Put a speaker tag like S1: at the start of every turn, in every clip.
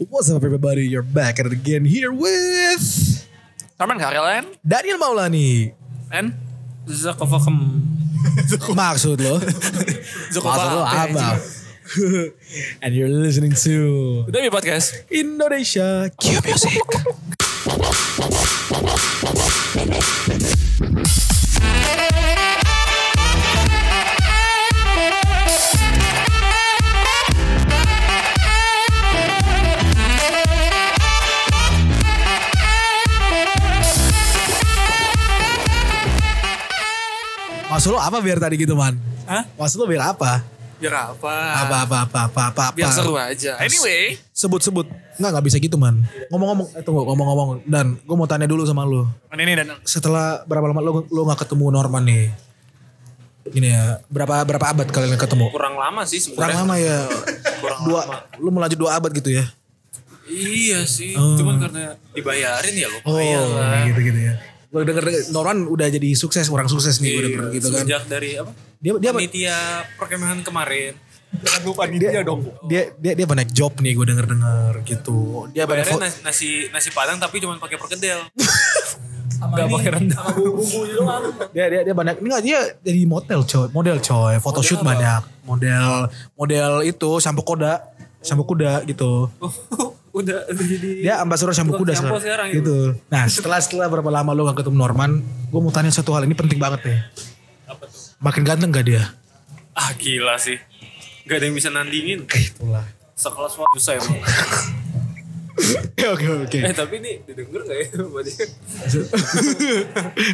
S1: What's up everybody, you're back at it again here with
S2: Carmen Karelen
S1: Daniel Maulani
S2: and Zakovakem.
S1: Maksud lo? Maksud lo apa? And you're listening to
S2: Udah di podcast.
S1: Indonesia Q Music Maksud lo apa biar tadi gitu man?
S2: Hah?
S1: Maksud lo biar apa?
S2: Biar apa?
S1: Apa apa apa apa apa? apa.
S2: Biar seru aja. Anyway,
S1: Sebut-sebut. Nggak, nggak bisa gitu man. Ngomong-ngomong, eh, tunggu ngomong-ngomong. Dan gue mau tanya dulu sama lo.
S2: ini dan
S1: Setelah berapa lama lo, lo gak ketemu Norman nih? Gini ya, berapa berapa abad kalian ketemu?
S2: kurang lama sih
S1: Kurang
S2: sebenarnya.
S1: lama ya.
S2: Kurang
S1: dua,
S2: lama.
S1: Lo melaju dua abad gitu ya?
S2: Iya sih,
S1: Oh.
S2: cuman karena dibayarin ya lumayan lah.
S1: iya. gitu-gitu ya. Gue denger, denger Norman udah jadi sukses, orang sukses nih gue denger gitu kan.
S2: Sejak dari apa?
S1: Dia dia
S2: Panitia perkemahan kemarin. Jangan lupa
S1: dia, dia dia dia banyak job nih gue denger denger gitu dia banyak
S2: Bayarnya
S1: fo-
S2: nasi, nasi nasi padang tapi cuman pakai perkedel. Gak pakai rendang.
S1: dia dia dia banyak enggak dia jadi model coy model coy photoshoot banyak model model itu sampo koda sampo kuda gitu
S2: Udah udah jadi
S1: dia ambasador sampo kuda
S2: Tukang sampo
S1: sekarang,
S2: sekarang gitu.
S1: gitu nah setelah setelah berapa lama lo gak ketemu Norman gue mau tanya satu hal ini penting banget nih
S2: apa tuh?
S1: makin ganteng gak dia
S2: Ah gila sih. Gak ada yang bisa nandingin.
S1: itulah
S2: Sekelas wah, susah emang.
S1: oke oke
S2: Eh tapi ini didengar gak ya? Berarti
S1: Oh,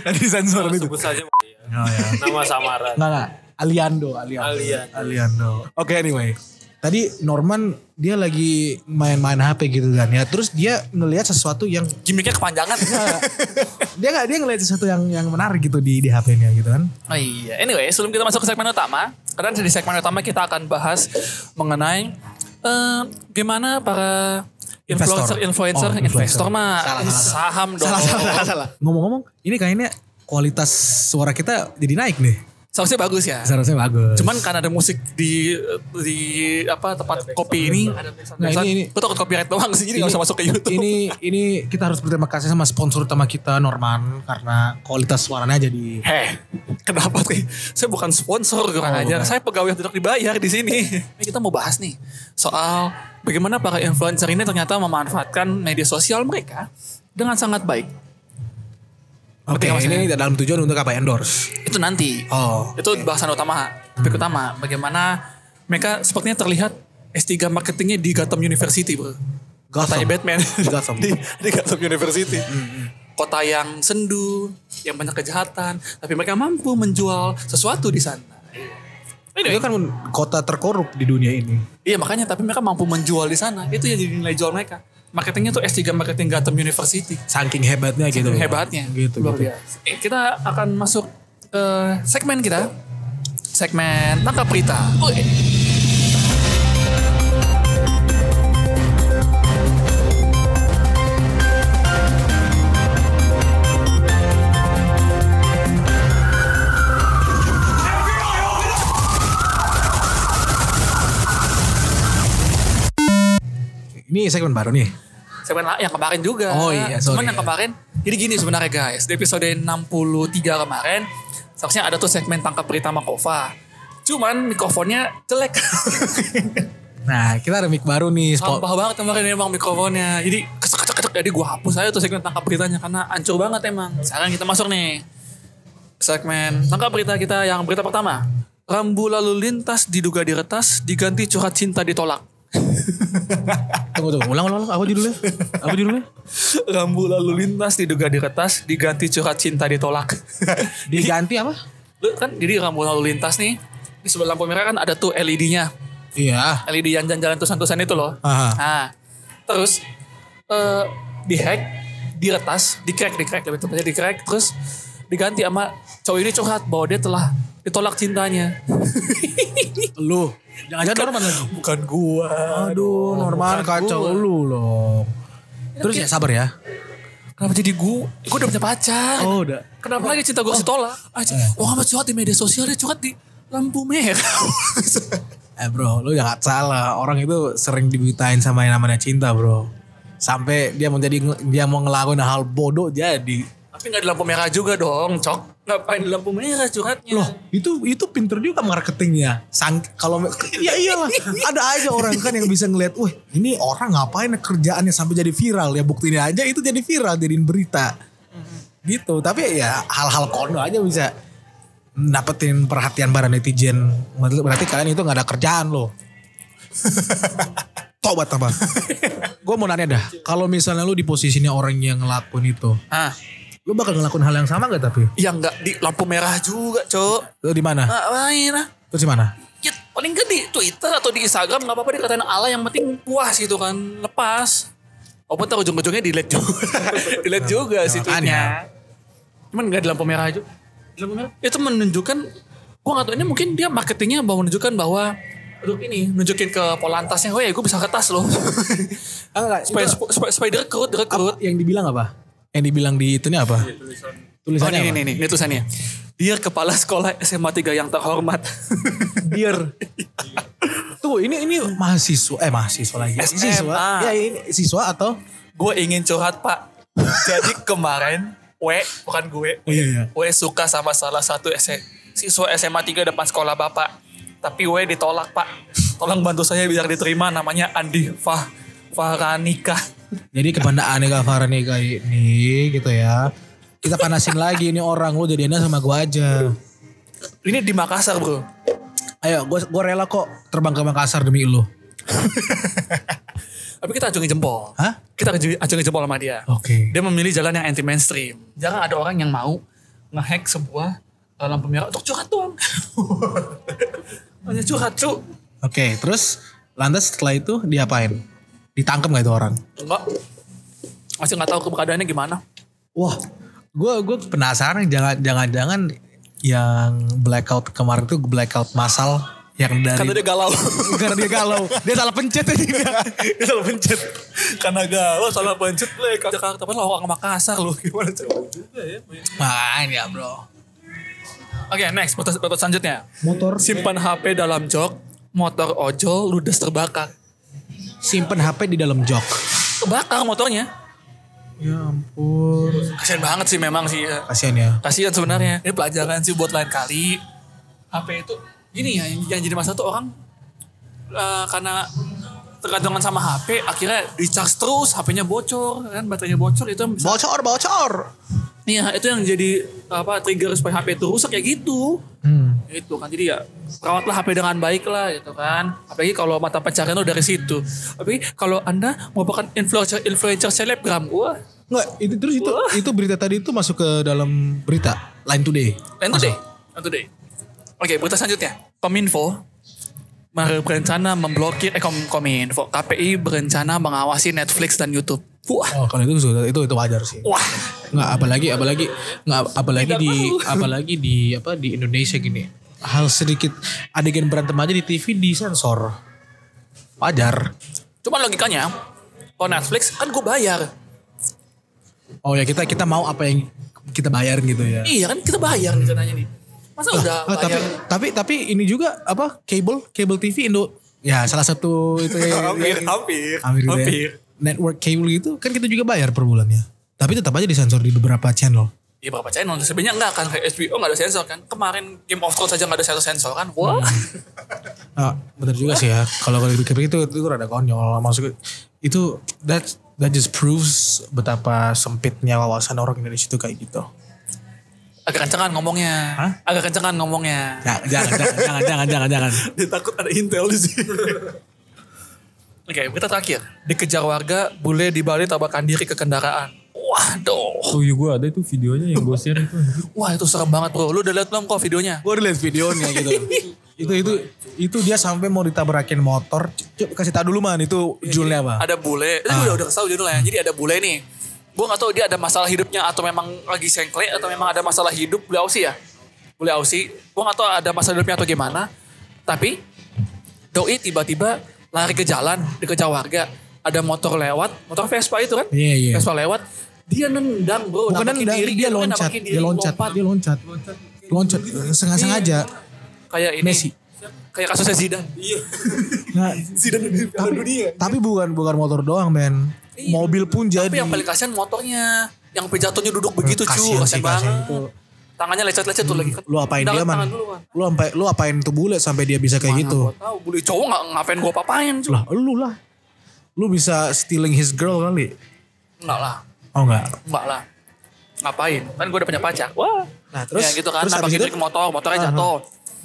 S1: nanti sensor itu
S2: sebut saja
S1: oh, ya.
S2: Iya. nama samaran.
S1: Nggak, nggak. Aliando, Aliando.
S2: Aliando.
S1: Aliando. Oke, anyway. Tadi Norman dia lagi main-main HP gitu kan ya. Terus dia ngelihat sesuatu yang
S2: Gimiknya kepanjangan.
S1: dia nggak dia ngelihat sesuatu yang yang menarik gitu di di HP-nya gitu kan.
S2: oh iya. Anyway, sebelum kita masuk ke segmen utama, karena di segmen utama kita akan bahas mengenai eh, gimana para
S1: Investor.
S2: influencer influencer
S1: Oh, influencer.
S2: investor mah
S1: Salah, salah,
S2: saham dong.
S1: Ngomong-ngomong, ini kayaknya kualitas suara kita jadi naik nih.
S2: Seharusnya bagus ya.
S1: Seharusnya bagus.
S2: Cuman karena ada musik di di apa tempat kopi ini,
S1: Nah, ini- ini-
S2: Gue takut copyright doang sih, jadi gak usah masuk ke YouTube.
S1: ini ini kita harus berterima kasih sama sponsor utama kita Norman karena kualitas suaranya jadi
S2: Heh, kenapa sih? Saya bukan sponsor kurang ajar. Saya pegawai yang tidak dibayar di sini. Oh, Ini kita mau bahas nih soal bagaimana para influencer ini ternyata memanfaatkan media sosial mereka dengan sangat baik.
S1: Oke,
S2: Berarti nggak
S1: ini dalam tujuan untuk apa? Endorse.
S2: Itu nanti.
S1: Oh.
S2: Itu bahasan utama, topik utama. Bagaimana mereka sepertinya terlihat S3 marketingnya di Gotham University, bro.
S1: Gotham.
S2: Kotanya Batman.
S1: Gotham.
S2: di, di Gotham University.
S1: Mm,
S2: Kota yang sendu, yang banyak kejahatan, tapi mereka mampu menjual sesuatu di sana. Anyway,
S1: Itu kan kota terkorup di dunia ini.
S2: Iya makanya tapi mereka mampu menjual di sana. Itu yang jadi nilai jual mereka. Marketingnya tuh S3 marketing Gotham University.
S1: saking hebatnya gitu loh.
S2: Hebatnya.
S1: gitu,
S2: Luar
S1: gitu.
S2: biasa. Eh, kita akan masuk ke segmen kita. Segmen tangkap berita. Oh, eh, Oke.
S1: ini segmen baru nih
S2: Segmen la- yang kemarin juga.
S1: Oh iya, sorry.
S2: Cuman yang kemarin jadi gini sebenarnya guys. Di episode 63 kemarin seharusnya ada tuh segmen tangkap berita Makova. Cuman mikrofonnya jelek.
S1: nah kita ada mic baru nih spo-
S2: Sampah banget kemarin emang mikrofonnya. Jadi kesek kesek kesek. Jadi gue hapus aja tuh segmen tangkap beritanya karena ancur banget emang. Sekarang kita masuk nih segmen tangkap berita kita yang berita pertama. Rambu lalu lintas diduga diretas diganti curhat cinta ditolak.
S1: tunggu tunggu ulang ulang ulang. apa judulnya apa judulnya
S2: Rambu lalu lintas diduga diretas diganti curhat cinta ditolak.
S1: diganti apa
S2: Lu kan jadi rambu lalu lintas nih di sebelah lampu merah kan ada tuh LED-nya.
S1: iya
S2: LED E yang jalan-jalan tusan-tusan itu loh.
S1: Aha.
S2: Nah, terus eh dihack, diretas, dikrek, dikrek lebih tepatnya dikrek, terus diganti sama cowok ini curhat bahwa dia telah ditolak cintanya.
S1: lu jangan jangan Norman lagi
S2: Bukan gua.
S1: aduh Norman kacau lu loh terus ya sabar ya
S2: Kenapa jadi gua? Gua udah punya pacar.
S1: oh udah
S2: Kenapa lagi cinta gua harus ditolak? Ah, c- Wah, amat curhat di media sosial dia curhat di lampu merah.
S1: Eh bro, lu jangan salah. Orang itu sering dibitain sama yang namanya cinta bro. Sampai dia mau jadi dia mau ngelakuin hal bodoh jadi.
S2: Tapi nggak di lampu merah juga dong, cok. Ngapain di lampu merah curhatnya?
S1: Loh, itu itu pinter juga marketingnya. Sang kalau ya iyalah, ada aja orang kan yang bisa ngeliat, wah ini orang ngapain ya kerjaannya sampai jadi viral ya buktinya aja itu jadi viral jadiin berita. Gitu, tapi ya hal-hal kono aja bisa dapetin perhatian para netizen. Berarti kalian itu nggak ada kerjaan loh. Tobat apa? Gue mau nanya dah, kalau misalnya lu di posisinya orang yang ngelakuin itu,
S2: Ah,
S1: lu bakal ngelakuin hal yang sama gak tapi?
S2: yang nggak di lampu merah juga, cok.
S1: Lu di mana?
S2: Ngapain ah?
S1: Terus di mana?
S2: Ya, paling ke di Twitter atau di Instagram nggak apa-apa dikatain Allah yang penting puas gitu kan lepas. Walaupun ntar ujung-ujungnya delete juga, delete juga sih tweetnya. Cuman nggak di lampu merah aja. Di lampu merah itu menunjukkan, gua nggak tahu ini mungkin dia marketingnya bahwa menunjukkan bahwa Aduh ini nunjukin ke polantasnya, oh ya gue bisa kertas loh.
S1: Ah, enggak,
S2: supaya, supaya, supaya direkrut, direkrut.
S1: yang dibilang apa? Yang dibilang di itunya apa?
S2: Oh
S1: Tulisannya
S2: ini,
S1: apa?
S2: ini, ini, ini tulisannya. Dia kepala sekolah SMA 3 yang terhormat.
S1: Dear. Tuh ini ini mahasiswa eh mahasiswa lagi.
S2: SMA.
S1: Siswa. Ya ini siswa atau?
S2: gue ingin curhat pak. Jadi kemarin, W, bukan gue,
S1: Oh iya iya.
S2: W suka sama salah satu S- E, siswa SMA 3 depan sekolah bapak. Tapi W ditolak pak. Tolong bantu saya biar diterima namanya Andi Fah Faranika.
S1: Jadi kepada Aneka Faraneka ini gitu ya. Kita panasin lagi ini orang lu jadiannya sama gua aja.
S2: Ini di Makassar bro.
S1: Ayo gua gua rela kok terbang ke Makassar demi lu.
S2: Tapi kita acungin jempol.
S1: Hah?
S2: Kita acungin acungin jempol sama dia.
S1: Oke.
S2: Dia memilih jalan yang anti mainstream. Jarang ada orang yang mau ngehack sebuah eh, lampu merah untuk curhat doang. Hanya curhat cu.
S1: Oke, terus lantas setelah itu diapain? Ditangkap nggak itu orang?
S2: Enggak. Masih nggak tahu keberadaannya gimana.
S1: Wah, gue gue penasaran jangan jangan jangan yang blackout kemarin tuh blackout masal yang
S2: Karena
S1: dari
S2: dia galau.
S1: karena dia galau, dia salah pencet aja dia.
S2: dia salah pencet. Karena galau salah pencet. Lek, Jakarta. Padahal orang Makassar lu. Gimana cu?
S1: Makanya bro.
S2: ya, Oke next. Pertanyaan pertanyaan selanjutnya.
S1: Motor
S2: Simpan HP dalam jok. Motor ojol ludes terbakar.
S1: simpen HP di dalam jok.
S2: Terbakar motornya.
S1: Ya ampun.
S2: Kasian banget sih memang sih. ya.
S1: Kasian ya.
S2: kasihan sebenarnya ini pelajaran sih buat lain kali HP itu gini ya yang, yang jadi masalah tuh orang eh, karena tergantungan sama HP akhirnya di charge terus HP-nya bocor kan baterainya bocor itu yang bisa-
S1: Bocor bocor.
S2: iya itu yang jadi apa trigger supaya HP itu rusak ya gitu
S1: Hmm.
S2: itu kan jadi ya rawatlah HP dengan baik lah gitu kan apalagi kalau mata pencarian lo dari situ tapi kalau anda merupakan influencer influencer selebgram wah
S1: Nggak, itu terus itu itu berita tadi itu masuk ke dalam berita Line Today.
S2: Lain today. Lain today. Oke, berita selanjutnya. Kominfo berencana memblokir eh, Kom- Kominfo. KPI berencana mengawasi Netflix dan YouTube. Wah.
S1: Oh, kalau itu sudah itu itu wajar sih.
S2: Wah.
S1: nggak apalagi apalagi nggak apalagi
S2: Tidak
S1: di
S2: mau.
S1: apalagi di apa di Indonesia gini hal sedikit adegan berantem aja di TV disensor wajar
S2: Cuman logikanya kalau Netflix kan gue bayar.
S1: oh ya kita kita mau apa yang kita bayar gitu ya
S2: Iya kan kita bayar nih rencananya nih. Masa udah
S1: Ah, tapi
S2: bayar?
S1: tapi tapi ini juga apa kabel kabel TV Indo ya salah satu itu ya,
S2: hampir.
S1: Amir gitu ya. network kabel itu kan kita juga bayar per bulannya tapi tetap aja disensor di beberapa channel
S2: Iya berapa channel? Sebenarnya enggak kan kayak HBO enggak ada sensor kan. Kemarin Game of Thrones aja enggak ada sensor-sensor kan. Wah.
S1: Ah, bener juga sih ya. Kalau kalau dipikir itu itu rada konyol. Maksudnya itu that that just proves betapa sempitnya wawasan orang Indonesia itu kayak gitu.
S2: Agak kencengan ngomongnya.
S1: Hah?
S2: Agak kencengan ngomongnya.
S1: Ya, jangan, jangan, jangan, jangan, jangan, jangan.
S2: Dia takut ada intel di sini. Oke, kita terakhir. Dikejar warga, bule di Bali tabrakan diri ke kendaraan. Waduh.
S3: Tuyul gue ada itu videonya yang gue share itu. anjir.
S2: Wah itu serem banget bro. Lu udah liat belum kok videonya?
S1: Gue udah liat videonya gitu. itu itu itu dia sampai mau ditabrakin motor. C- c- kasih tahu dulu man itu
S3: Iya,
S1: judulnya apa?
S2: Ada bule.
S1: Ah.
S2: Itu udah udah tau judulnya.
S1: Hmm.
S2: Jadi ada bule nih. Gue gak tau dia ada masalah hidupnya atau memang lagi sengkle atau memang ada masalah hidup bule Aussie ya. Bule Aussie. Gue gak tau ada masalah hidupnya atau gimana. Tapi doi tiba-tiba lari ke jalan dikejar warga. Ada motor lewat, motor Vespa itu kan?
S1: Iya, iya.
S2: Vespa lewat, dia nendang bro.
S1: Bukan
S2: nampakin
S1: nendang,
S2: diri,
S1: dia
S2: bukan
S1: loncat,
S2: nampakin diri,
S3: Iya.
S1: dia loncat, dia loncat. Loncat sengaja-sengaja.
S2: Kayak ini.
S1: Messi.
S2: Kayak kasusnya Zidane.
S4: Iya.
S1: Nah,
S4: Zidane di Piala Dunia.
S1: tapi bukan bukan motor doang men. Mobil pun jadi.
S2: Iya. Tapi yang paling kasihan motornya. Yang pejatuhnya duduk begitu cu.
S1: Hmm, Kasihan sih,
S2: Kasihan banget.
S1: kasihan itu. Hmm,
S2: Tangannya lecet-lecet tuh lagi.
S1: lu apain dia
S2: Tangan-
S1: man?
S2: tangan dulu, man.
S1: Lu sampai lu apain tuh bule sampai dia bisa kayak gitu?
S2: Gua tahu bule cowok nggak ngapain gua papain cu.
S1: Lah lu lah. Lu bisa stealing his girl kali.
S2: Enggak lah.
S1: Oh enggak.
S2: Enggak lah. Ngapain? Kan gue udah punya pacar. Wah.
S1: Nah, terus-
S2: ya, gitu kan.
S1: terus habis
S2: Terus nampakin
S1: itu? Ah,
S2: diri ke motor, motornya jatuh.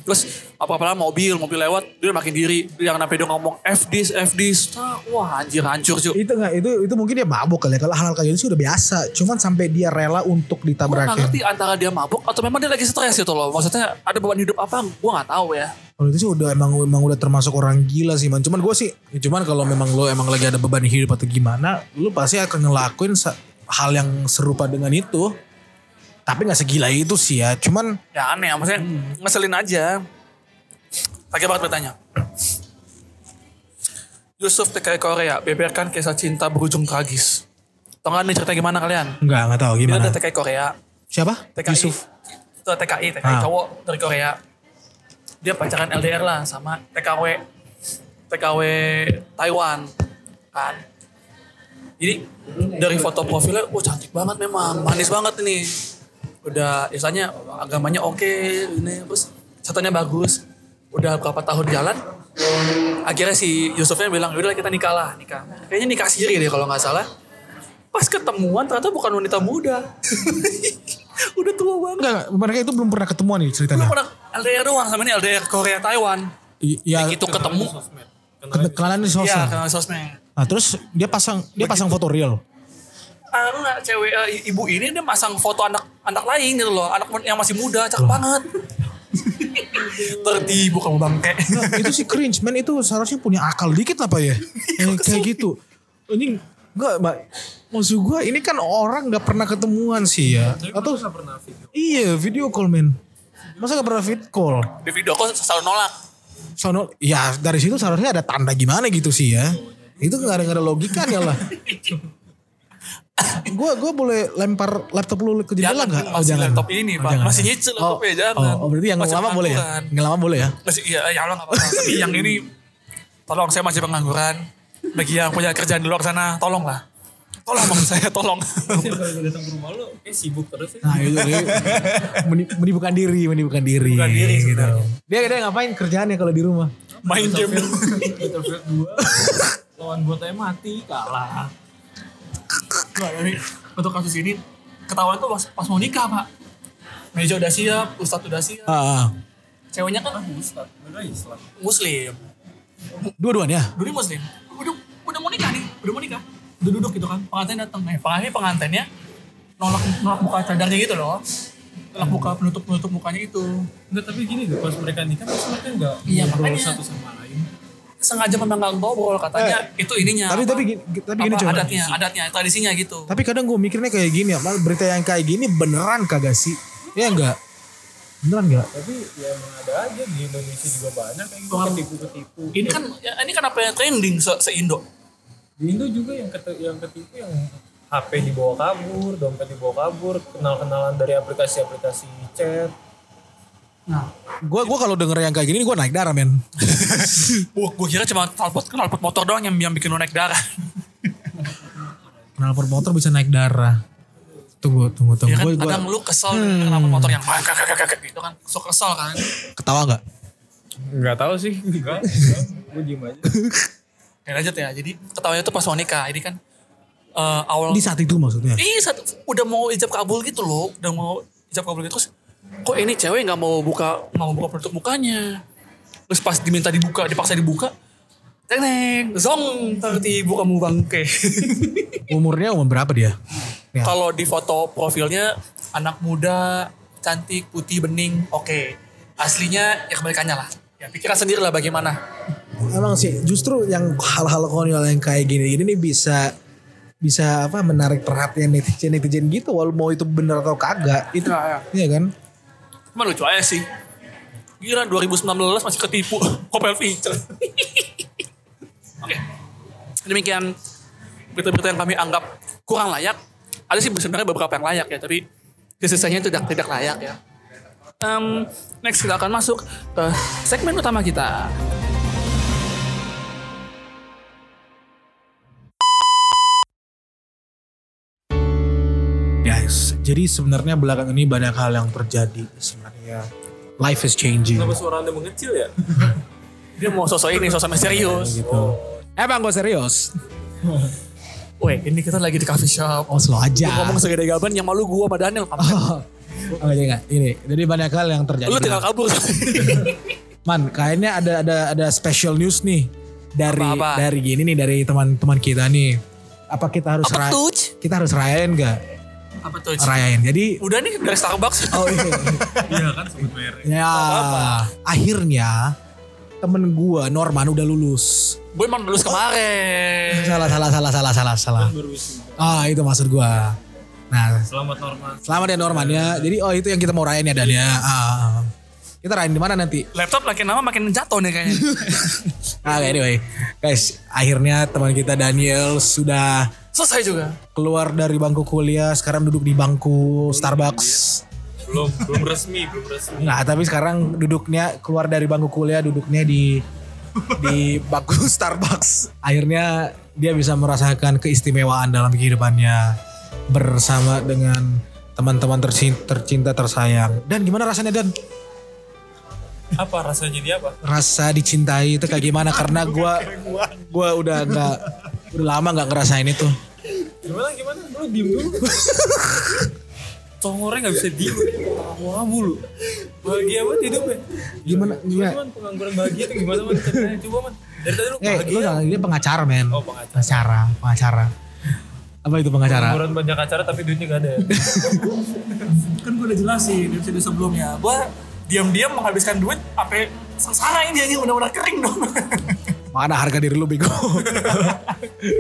S2: Terus apa-apa lah mobil, mobil lewat, dia makin diri. Dia yang sampai dia ngomong F this, F this. Ah, Wah anjir hancur cuy.
S1: Itu enggak itu itu mungkin dia mabok kali. ya. Kalau hal-hal kayak gitu sih udah biasa. Cuman sampai dia rela untuk ya.
S2: Gue gak
S1: ditabrakin.
S2: ngerti antara dia mabuk atau memang dia lagi stres gitu loh. Maksudnya ada beban hidup apa gue gak tahu ya.
S1: Kalau itu sih udah emang emang udah termasuk orang gila sih man. Cuman gue sih, ya cuman kalau memang lo emang lagi ada beban hidup atau gimana, lo pasti akan ngelakuin sa- hal yang serupa dengan itu. Tapi nggak segila itu sih ya. Cuman
S2: Ya aneh ya. Maksudnya ngeselin aja. Pakai banget bertanya. Yusuf TKI Korea, beberkan kisah cinta berujung tragis. Tau gak nih cerita gimana kalian?
S1: nggak nggak tahu
S2: Ini
S1: gimana.
S2: ada TKI Korea,
S1: Siapa?
S2: TKI.
S1: Yusuf.
S2: Itu TKI, TKI
S1: Ah.
S2: cowok dari Korea. Dia pacaran LDR lah sama TKW. TKW Taiwan. Kan. Jadi dari foto profilnya, wah cantik banget memang. Manis banget ini. Udah istilahnya agamanya oke. ini Terus satunya bagus. Udah berapa tahun jalan. Akhirnya si Yusufnya bilang, udah kita nikah lah. Nikah. Kayaknya nikah siri deh kalau nggak salah. Pas ketemuan ternyata bukan wanita muda. Udah tua banget.
S1: Enggak, enggak, mereka itu belum pernah ketemuan nih ceritanya.
S2: Lu pernah LDR doang sama ini LDR Korea Taiwan.
S1: I- Ya,
S2: Gitu ketemu.
S1: ken- kenalan di
S2: Iya,
S1: sosmed.
S2: kenal di sosmed.
S1: Nah, terus dia pasang dia pasang foto real.
S2: Ah, enggak, cewek eh, i- ibu ini dia masang foto anak anak lain gitu loh, anak yang masih muda, cakep banget. Tertibu kamu bangke.
S1: Nah, itu sih cringe man itu seharusnya punya akal dikit lah pak
S2: Iya,
S1: ya Eh, kayak gitu ini enggak mbak maksud gue ini kan orang nggak pernah ketemuan sih ya atau
S3: pernah video.
S1: iya video call men masa gak pernah video call
S2: Di video kok selalu nolak.
S1: sono ya dari situ seharusnya ada tanda gimana gitu sih ya itu nggak ada nggak ada logikanya lah gue gue boleh lempar laptop lu ke jendela
S2: Jangan,
S1: nggak
S2: masih laptop ini, Pak. Masih nyicil
S1: oh,
S2: laptopnya, jangan.
S1: oh, berarti yang
S2: Masih
S1: lama boleh ya
S2: pengangguran.
S1: yang lama boleh ya
S2: Masih iya, ya Allah nggak apa-apa. Tapi yang ini tolong saya masih pengangguran. Bagi yang punya kerjaan di luar sana, tolonglah. Tolong bang saya, tolong.
S3: Kalau gue datang ke rumah lu, eh sibuk terus ya.
S1: Nah itu dia meni- menibukan diri, menibukan diri.
S2: Bukan diri gitu.
S1: Dia dia ngapain kerjaannya kalau di rumah?
S2: Main game.
S3: Battlefield 2. Lawan botnya mati, kalah.
S2: Nggak, tapi untuk kasus ini ketahuan tuh pas, pas mau nikah pak. Meja udah siap, ustadz udah siap.
S1: Ah, ah.
S2: Ceweknya kan
S3: Ustaz, mereka Islam.
S2: muslim.
S1: dua-duanya.
S2: Dulu muslim. Udah, udah mau nikah nih, udah mau nikah. Udah duduk gitu kan, pengantin datang. Eh, pengantin pengantinnya nolak nolak buka cadarnya gitu loh. Nolak buka penutup penutup mukanya itu.
S3: Enggak, tapi gini deh, pas mereka nikah, pas mereka enggak
S2: Iya,
S3: ngobrol
S2: makanya.
S3: satu gitu sama lain.
S2: Sengaja memang nggak ngobrol katanya itu ininya.
S1: Eh, Tapi
S2: apa-
S1: tapi gini, tapi gini
S2: apa,
S1: coba.
S2: adatnya, adatnya, tradisinya gitu.
S1: Tapi kadang gue mikirnya kayak gini ya, Mal, berita yang kayak gini beneran kagak sih? Ya enggak. Beneran enggak?
S3: Tapi ya emang ada aja di Indonesia juga banyak yang gitu, ketipu-ketipu.
S2: Ini kan ya, ini kan apa yang trending se, indo
S3: Di Indo juga yang ketipu, yang ketipu yang HP dibawa kabur, dompet dibawa kabur, kenal-kenalan dari aplikasi-aplikasi chat.
S2: Nah,
S1: Gue gua kalau denger yang kayak gini gue naik darah men.
S2: Wah, gue kira cuma knalpot knalpot motor doang yang, yang bikin lu naik darah.
S1: Kenal motor bisa naik darah. Tunggu, tunggu, tunggu.
S2: ya kan,
S1: Gua- Hmm. gua-
S2: kadang lu kesel dengan knalpot motor yang kakak kakak kakak gitu kan, sok kesel kan.
S1: ketawa enggak?
S3: Enggak tahu sih. Enggak, enggak. Gue diem aja.
S2: Ya lanjut ya, jadi ketawanya tuh pas mau nikah, ini kan eh, awal.
S1: Di saat itu maksudnya.
S2: Ih, Iya, satu, udah mau ijab kabul gitu loh, udah mau ijab kabul gitu terus kok ini cewek nggak mau buka nggak mau buka penutup mukanya. Terus pas diminta dibuka, dipaksa dibuka, Teng neng, zong, tertibu kamu bangke.
S1: Umurnya umur berapa dia? Ya.
S2: Kalau di foto profilnya anak muda, cantik, putih, bening, oke. Aslinya ya kebalikannya lah. Ya pikirkan sendiri lah bagaimana.
S1: Emang sih, justru yang hal-hal konyol yang kayak gini gini nih bisa bisa apa menarik perhatian netizen netizen gitu walau mau itu bener atau kagak itu
S2: ya.
S1: iya kan
S2: Cuma lucu aja sih. Gila 2019 masih ketipu Kopel feature. Oke. Demikian berita-berita yang kami anggap kurang layak. Ada sih sebenarnya beberapa yang layak ya, tapi sisanya tidak tidak layak ya. Em, next kita akan masuk ke segmen utama kita.
S1: Guys, jadi sebenarnya belakang ini banyak hal yang terjadi sebenarnya. Life is changing.
S3: Kenapa suara anda mengecil ya?
S2: Dia mau sosok ini, sosok misterius.
S1: Gitu.
S2: Eh,
S1: Emang gue serius?
S2: Weh, Oh, eh, ini kita lagi di coffee shop.
S1: Oh, slow aja.
S2: Ngomong segede gaban yang malu gua sama Daniel.
S1: Oh, jadi nggak? Ini, jadi banyak hal yang terjadi.
S2: Lu tinggal kabur.
S1: Man, kayaknya ada ada ada special news nih dari
S2: Apa-apa?
S1: dari gini nih dari teman-teman kita nih. Apa kita harus
S2: Apa
S1: ra-
S2: tuh?
S1: kita harus rayain nggak?
S2: Apa tuh?
S1: Rayain. Jadi
S2: Udah nih dari Starbucks.
S1: oh iya.
S3: Iya kan sebut merek.
S1: ya akhirnya temen gua Norman udah lulus.
S2: Gue emang lulus kemarin.
S1: Salah salah salah salah salah salah.
S3: Berusia.
S1: Ah itu maksud gua. Nah
S3: Selamat normal.
S1: selamat ya Norman ya. Jadi oh itu yang kita mau rayain ya Dan ya. Ah, kita rayain di mana nanti?
S2: Laptop makin lama makin jatuh nih kayaknya.
S1: Ah anyway guys akhirnya teman kita Daniel sudah
S2: Selesai juga.
S1: keluar dari bangku kuliah sekarang duduk di bangku Starbucks
S3: Belum belum resmi, belum resmi.
S1: nah tapi sekarang duduknya keluar dari bangku kuliah duduknya di di bangku Starbucks akhirnya dia bisa merasakan keistimewaan dalam kehidupannya bersama dengan teman-teman tercinta, tercinta tersayang dan gimana rasanya dan
S3: Apa rasanya jadi apa?
S1: rasa dicintai itu kayak gimana karena gua gua udah nggak udah lama nggak ngerasain itu
S3: Gimana gimana? Lu diem dulu. Congornya gak bisa diem. Kamu lu. Bahagia banget hidupnya.
S1: gimana gimana
S3: Cuman pengangguran bahagia itu gimana man? Ceritanya coba man. Dari tadi lu
S1: Eh,
S3: bahagia.
S1: lu jangan dia pengacara men.
S3: Oh, pengacara.
S1: Pengacara, pengacara. Apa itu pengacara?
S2: Ah.
S3: Pengangguran banyak acara tapi duitnya gak ada ya.
S2: Kan gue udah jelasin di episode sebelumnya. Gue diam-diam menghabiskan duit sampai sengsara ini anjing udah-udah kering dong.
S1: Mana harga diri lu bego?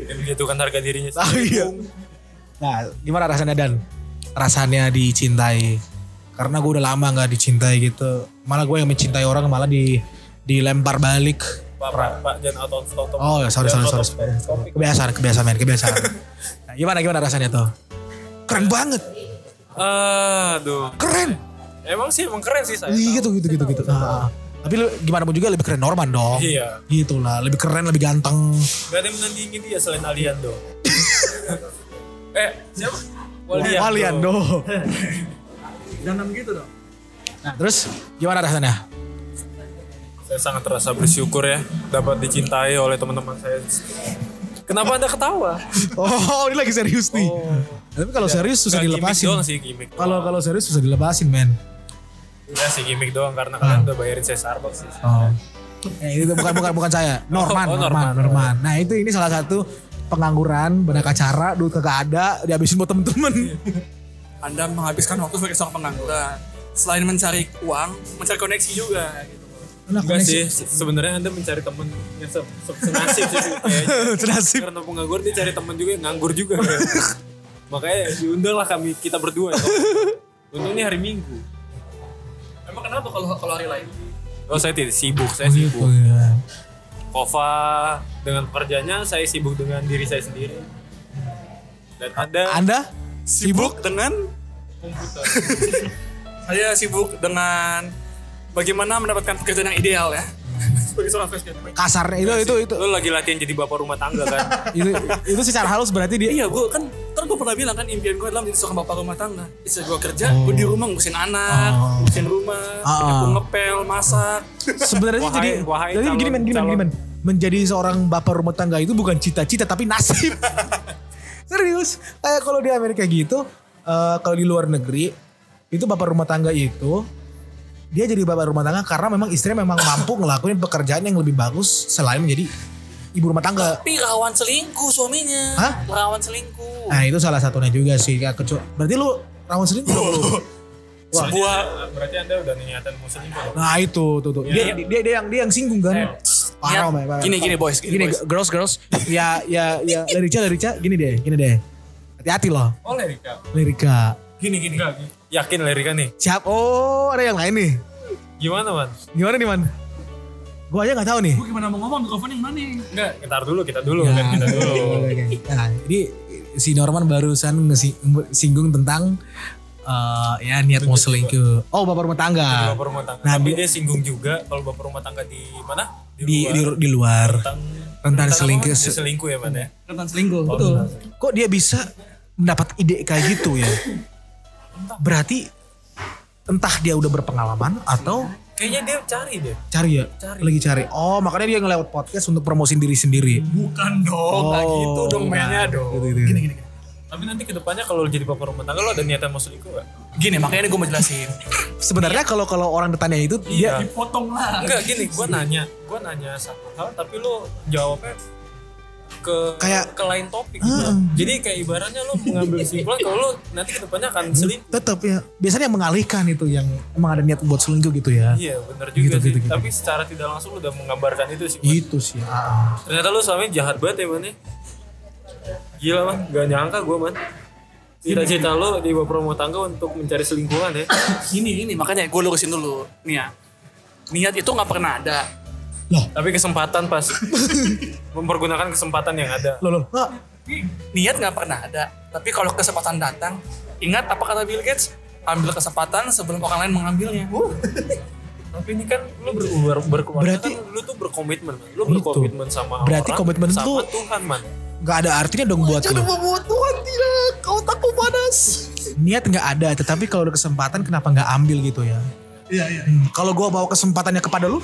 S3: Yang menjatuhkan harga dirinya.
S1: Ah, iya. Nah, gimana rasanya Dan? Rasanya dicintai. Karena gue udah lama nggak dicintai gitu. Malah gue yang mencintai orang malah di dilempar balik.
S3: Pak, Pak, Pak, jangan out of out of-
S1: Oh, sorry sorry
S3: jangan out
S1: sorry.
S3: of-
S1: sorry.
S3: Ya, topik.
S1: Kebiasaan, kebiasaan men, kebiasaan. Nah, gimana gimana rasanya tuh? Keren banget,
S3: Aduh.
S1: keren.
S3: Emang sih emang keren sih saya.
S1: Iya gitu gitu gitu gitu. Ah, ah. tapi lu gimana pun juga lebih keren Norman dong.
S3: Iya.
S1: Gitu lah, lebih keren, lebih ganteng.
S3: Gak ada yang menandingi dia selain Aliando. eh, siapa? Waliando.
S1: Waliando.
S2: Jangan gitu dong.
S1: Nah, terus gimana rasanya?
S3: Saya sangat terasa bersyukur ya dapat dicintai oleh teman-teman saya. Kenapa Anda ketawa?
S1: Oh, ini lagi serius nih. Tapi kalau serius susah
S3: Oh. Iya. Nggak, Gimmick
S1: dilepasin.
S3: doang sih gimmick.
S1: Kalau kalau serius susah dilepasin, men.
S3: Ya sih gimmick doang karena
S1: Hmm.
S3: kalian udah bayarin saya Starbucks sih.
S1: Oh. itu bukan bukan bukan saya. Norman,
S3: Oh, oh,
S1: Norman,
S3: Norman.
S1: Norman. Nah, itu ini salah satu pengangguran, banyak acara, duit kagak ada, dihabisin buat
S3: Iya.
S1: temen-temen.
S2: Anda menghabiskan waktu sebagai seorang pengangguran. Selain mencari uang, mencari koneksi juga. Gitu.
S1: Nah,
S3: Enggak
S1: koneksi-
S3: sih, se- sebenarnya Anda mencari teman yang se se- senasib sih kayaknya.
S1: Senasib.
S3: Karena penganggur dia cari teman juga yang nganggur juga. ya. Makanya diundanglah kami kita berdua. Ya. Untung ini hari Minggu.
S2: Emang kenapa kalau kalau hari lain?
S3: Oh saya tidak sibuk, saya
S1: Gitu,
S3: sibuk.
S1: ya.
S3: Kova dengan kerjanya, saya sibuk dengan diri saya sendiri. Dan Anda
S1: Anda
S2: Sibuk dengan
S3: komputer.
S2: saya sibuk dengan bagaimana mendapatkan pekerjaan yang ideal ya. Sebagai seorang fresh graduate.
S1: kasarnya itu itu itu
S3: Lo lagi latihan jadi bapak rumah tangga kan?
S1: itu, itu secara halus berarti dia
S2: Iya, gue kan kan gue pernah bilang kan impian gue adalah menjadi seorang bapak rumah tangga. Istri gue kerja, gue Ya, di rumah ngurusin anak,
S1: Oh.
S2: ngurusin rumah,
S1: Ah.
S2: gue ngepel, masak.
S1: sebenarnya sih
S3: Wahai-
S1: jadi
S3: wahai
S1: jadi
S3: calon-
S1: begini men gini men gini,
S3: calon.
S1: men menjadi seorang bapak rumah tangga itu bukan cita-cita tapi nasib serius kayak kalau di Amerika gitu eh, kalau di luar negeri itu bapak rumah tangga itu dia jadi bapak rumah tangga karena memang istrinya memang mampu ngelakuin pekerjaan yang lebih bagus selain menjadi ibu rumah tangga
S2: Tapi rawan selingkuh suaminya.
S1: Hah?
S2: Rawan selingkuh.
S1: nah itu salah satunya juga sih Kayak kecu- berarti lu rawan sering belum lu?
S2: Sebuah
S3: Ah, Berarti Anda udah niatan mau selingkuh.
S1: nah itu tuh tuh
S3: Iya.
S1: dia, dia, dia yang dia yang singgung
S3: Eh,
S1: kan parah men, parah.
S2: Gini gini boys, gini,
S1: gini
S2: boys.
S1: girls girls ya ya ya Lerica Lerica gini deh gini deh hati-hati loh
S3: Oh Lerika.
S1: Lerica
S3: Gini gini. Yakin Lerika nih?
S1: siap oh ada yang lain nih
S3: Gimana man?
S1: gimana nih man gue aja nggak tahu nih Ya,
S2: Gue gimana mau ngomong mikrofon yang mana?
S3: Enggak, kita dulu, kita dulu, kan kita dulu.
S1: nah jadi si Norman barusan ngesinggung tentang eh, ya niat mau selingkuh. Oh bapak rumah tangga.
S3: bapak rumah tangga.
S1: Nah,
S3: Tapi
S1: di-
S3: dia singgung juga kalau bapak rumah tangga di mana?
S1: Di
S3: luar.
S1: di, di luar.
S3: Tentang-
S1: Rentan
S3: tentang apa?
S1: selingkuh.
S3: Dia selingkuh ya, Pak ya.
S4: rentan selingkuh betul
S1: Kok dia bisa mendapat ide kayak gitu ya? Berarti entah dia udah berpengalaman atau
S3: Kayaknya dia cari deh.
S1: cari ya, lagi cari. Oh makanya dia ngelewat podcast untuk promosin diri sendiri.
S3: Bukan dong, nggak gitu dong
S1: bukan.
S3: mainnya dong.
S1: Gitu, gitu.
S3: Tapi nanti kedepannya kalau jadi bapak rumah tangga lo ada niatan mau selingkuh gak?
S2: Gini makanya ini gue mau jelasin.
S1: Sebenarnya kalau kalau orang bertanya itu
S3: Iya,
S1: dia
S4: potong lah
S3: Enggak gini, gue nanya, gue nanya satu hal tapi lo jawabnya ke
S1: Kayak-
S3: ke lain topik gitu. Jadi kayak ibaratnya lo mengambil kesimpulan kalau lo nanti kedepannya akan selingkuh.
S1: tetap ya biasanya yang mengalihkan itu yang emang ada niat buat selingkuh gitu ya.
S3: Iya bener juga
S1: Gitu,
S3: sih.
S1: gitu, gitu.
S3: Tapi secara tidak langsung lo udah mengabarkan itu sih. Man.
S1: Gitu sih. ah.
S3: Ternyata lo suami jahat banget ya man ya. Gila man, gak nyangka gue man. Cita-cita lo di bapak rumah tangga untuk mencari selingkuhan ya.
S2: Gini gini makanya gue lurusin dulu. Nih ya. Niat itu nggak pernah ada.
S3: Tapi kesempatan pas mempergunakan kesempatan yang ada.
S1: Loh, loh. Nggak.
S2: Niat nggak pernah ada. Tapi kalau kesempatan datang, ingat apa kata Bill Gates? Ambil kesempatan sebelum orang lain mengambilnya.
S1: Uh.
S3: Tapi ini kan lu ber berkeluarga
S1: Berarti-
S3: kan lu tuh berkomitmen, man. lu berkomitmen
S1: Gitu.
S3: sama
S1: Berarti
S3: orang,
S1: komitmen
S3: sama
S1: tuh-
S3: Tuhan man.
S1: nggak ada artinya dong buat lo.
S4: membuat Tuhan tidak otakku panas
S1: Niat nggak ada, tetapi kalau ada kesempatan kenapa nggak ambil gitu ya?
S4: iya iya
S1: Hmm, Kalau gua bawa kesempatannya kepada lu,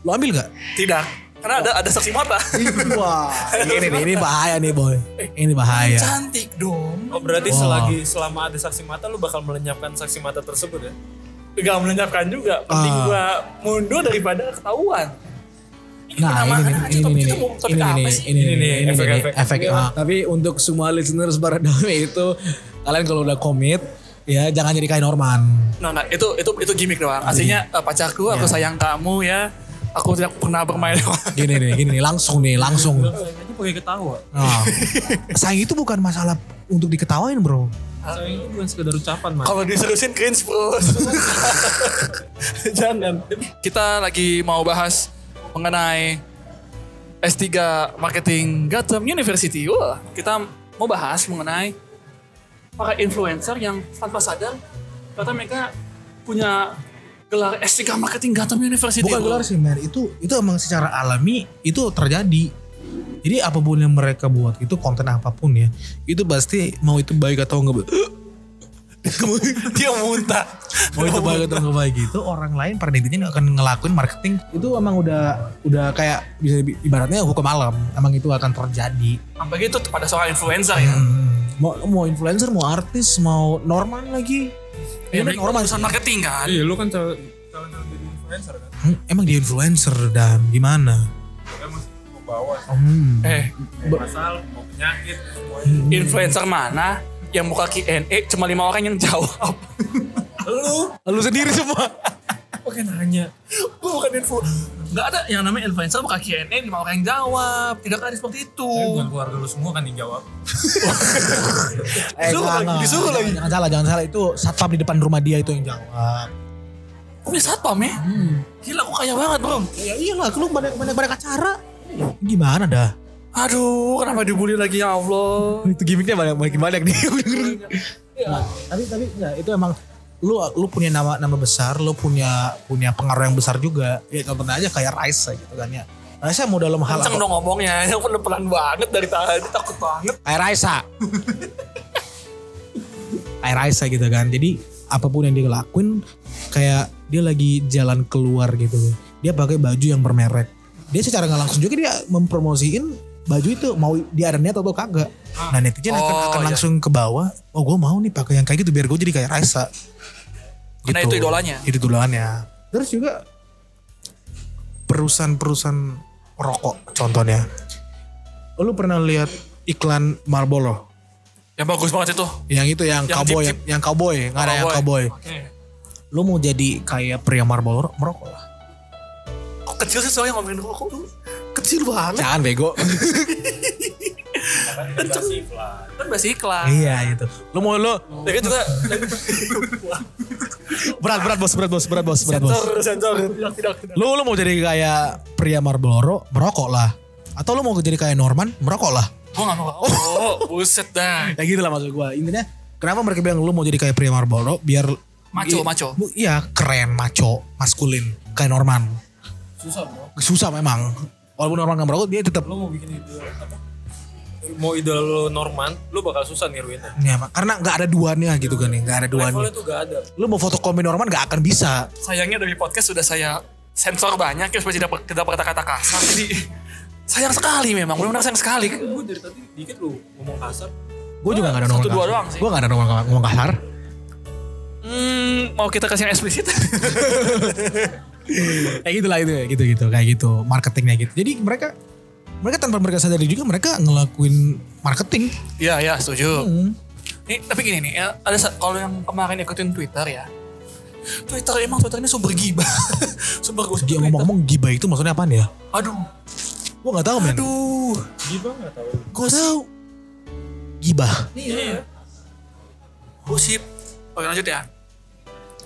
S1: lu ambil nggak?
S2: Tidak. Karena ada ada saksi mata. Iya.
S1: Wah, ini nih, ini bahaya nih boy. Ini bahaya.
S2: Cantik dong.
S3: Oh berarti
S1: Wow.
S3: selagi selama ada saksi mata lu bakal melenyapkan saksi mata tersebut ya.
S2: Gak melenyapkan juga. Penting
S1: Ah.
S2: gua mundur daripada ketahuan.
S1: Nah, ini nih, ini nih, ini nih,
S2: Tapi
S1: ini
S2: apa
S1: nih,
S2: sih?
S1: ini nih,
S3: Ini nih,
S1: ini nih,
S3: efek-efek.
S1: efek. ah. Tapi untuk semua listeners Baradame itu, kalian kalau udah komit, ya jangan jadi kain Norman.
S2: Nah, nah, itu itu itu gimmick doang. Aslinya eh, pacarku, aku sayang kamu ya. Aku tidak pernah bermain.
S1: Gini nih, gini nih, langsung nih, langsung.
S3: Itu pakai ketawa.
S1: Nah, sayang itu bukan masalah untuk diketawain bro.
S3: Sayang itu bukan sekedar ucapan man.
S2: Kalau diserusin cringe bro.
S3: Jangan.
S2: Kita lagi mau bahas mengenai S3 Marketing Gotham University. Wah, kita mau bahas mengenai para influencer yang tanpa sadar ternyata mereka punya gelar S3 Marketing Gotham University.
S1: Bukan
S2: bro.
S1: gelar sih men, itu itu emang secara alami itu terjadi. Jadi apapun yang mereka buat itu konten apapun ya, itu pasti mau itu baik atau enggak
S2: Dia muntah.
S1: mau Oh, itu baik atau enggak baik itu orang lain pada intinya nggak akan ngelakuin marketing itu emang udah udah kayak bisa dibi- ibaratnya hukum alam emang itu akan terjadi.
S2: Apalagi itu gitu pada seorang influencer ya.
S1: Hmm, Mau mau influencer, mau artis, mau Norman lagi.
S2: Ya,
S1: Emang
S2: mereka
S1: Norman
S2: urusan marketing kan.
S3: Iya lu kan calon calon jadi influencer kan.
S1: Hmm, emang dia influencer dan gimana?
S3: Ya masih mau bawa
S1: Hmm.
S2: Eh,
S3: masalah, mau penyakit, semuanya.
S2: influencer mana yang buka Q&A cuma lima orang yang jawab?
S3: Lu
S1: Lu sendiri semua.
S3: pakai nanya.
S2: Gue bukan info. Gak ada yang namanya influencer buka Q&A lima orang yang jawab. Tidak ada seperti itu.
S3: Tapi bukan keluarga lu semua kan yang jawab.
S1: Eh,
S2: Disuruh
S1: jangan,
S2: lagi, disuruh
S1: jangan,
S2: lagi.
S1: Jangan salah, jangan salah. Itu satpam di depan rumah dia itu yang jawab.
S2: Gue punya satpam ya.
S1: Hmm.
S2: Gila, gue kaya banget bro.
S1: Ya iyalah, lu banyak banyak banyak acara. Gimana dah?
S2: Aduh, kenapa dibully lagi ya Allah.
S1: Itu gimmicknya banyak banyak banyak nih. nah, tapi tapi ya, itu emang lu lu punya nama nama besar, lu punya punya pengaruh yang besar juga. Ya contohnya aja kayak Raisa gitu kan ya. Raisa mau dalam hal
S2: Kenceng
S1: apa?
S2: dong ngomongnya. Ini aku udah pelan banget dari tadi. Takut banget.
S1: Kayak Raisa. kayak Raisa gitu kan. Jadi apapun yang dia lakuin kayak dia lagi jalan keluar gitu. Dia pakai baju yang bermerek. Dia secara nggak langsung juga dia mempromosiin baju itu mau dia ada niat atau kagak. Nah netizen akan,
S2: Oh,
S1: akan
S2: iya.
S1: langsung ke bawah. Oh gue mau nih pakai yang kayak gitu biar gue jadi kayak Raisa.
S2: Karena itu idolanya.
S1: Itu idolanya. Terus juga perusahaan-perusahaan rokok contohnya. Lu pernah lihat iklan Marlboro?
S2: Yang bagus banget itu.
S1: Yang itu yang,
S2: Yang
S1: cowboy,
S2: jeep-jeep.
S1: yang cowboy, nggak ada yang cowboy. Lu mau jadi kayak pria Marlboro merokok lah.
S2: Kok kecil sih soalnya ngomongin rokok tuh. Kecil banget.
S1: Jangan bego.
S3: Kan dikasih iklan.
S2: Kan masih iklan.
S1: iya itu. Lu mau lu
S2: Lagi juga eh,
S1: berat berat bos berat bos berat bos berat bos.
S2: sensor, sensor. Tidak, tidak, tidak.
S1: Lu lu mau jadi kayak pria Marlboro merokok lah. Atau lu mau jadi kayak Norman merokok lah.
S2: Gue gak mau. Oh, buset dah.
S1: Ya gitu lah maksud gue. Intinya Kenapa mereka bilang lu mau jadi kayak pria Marlboro biar i-
S2: Maco, maco.
S1: bu- Iya, keren, maco, maskulin, kayak Norman.
S3: susah bro
S1: Susah memang. Walaupun Norman gak merokok, dia tetap
S3: lo mau bikin idola apa mau idola lo Norman lo bakal susah niruinnya
S1: ya, karena nggak ada duanya gitu kan ya, nggak ada duanya.
S3: levelnya tuh gak ada
S1: Lu mau fotokopi Norman gak akan bisa.
S2: Sayangnya dari podcast sudah saya sensor banyak ya supaya tidak tidak berkata-kata kasar. Jadi sayang sekali memang, benar-benar sayang sekali.
S3: gue dari tadi dikit lo ngomong kasar
S1: Gue juga gak ada nomor
S2: satu dua doang sih.
S1: Gue gak ada nomor ngomong kasar.
S2: Hmm, mau kita kasih yang eksplisit?
S1: kayak gitu lah itu gitu gitu kayak gitu marketingnya gitu jadi mereka mereka tanpa mereka sadari juga mereka ngelakuin marketing
S2: Iya, ya, setuju.
S1: hmm.
S2: Nih, tapi gini nih, ya, ada sa- kalau yang kemarin ikutin Twitter ya. Twitter emang Twitter ini sumber gibah. sumber gosip.
S1: dia
S2: Twitter.
S1: ngomong-ngomong gibah itu maksudnya apaan ya
S2: Aduh,
S1: gua nggak tahu men
S2: aduh.
S3: gibah gak tau
S1: gua tahu gibah
S3: iya
S2: Gosip. Oh, Oke, lanjut ya.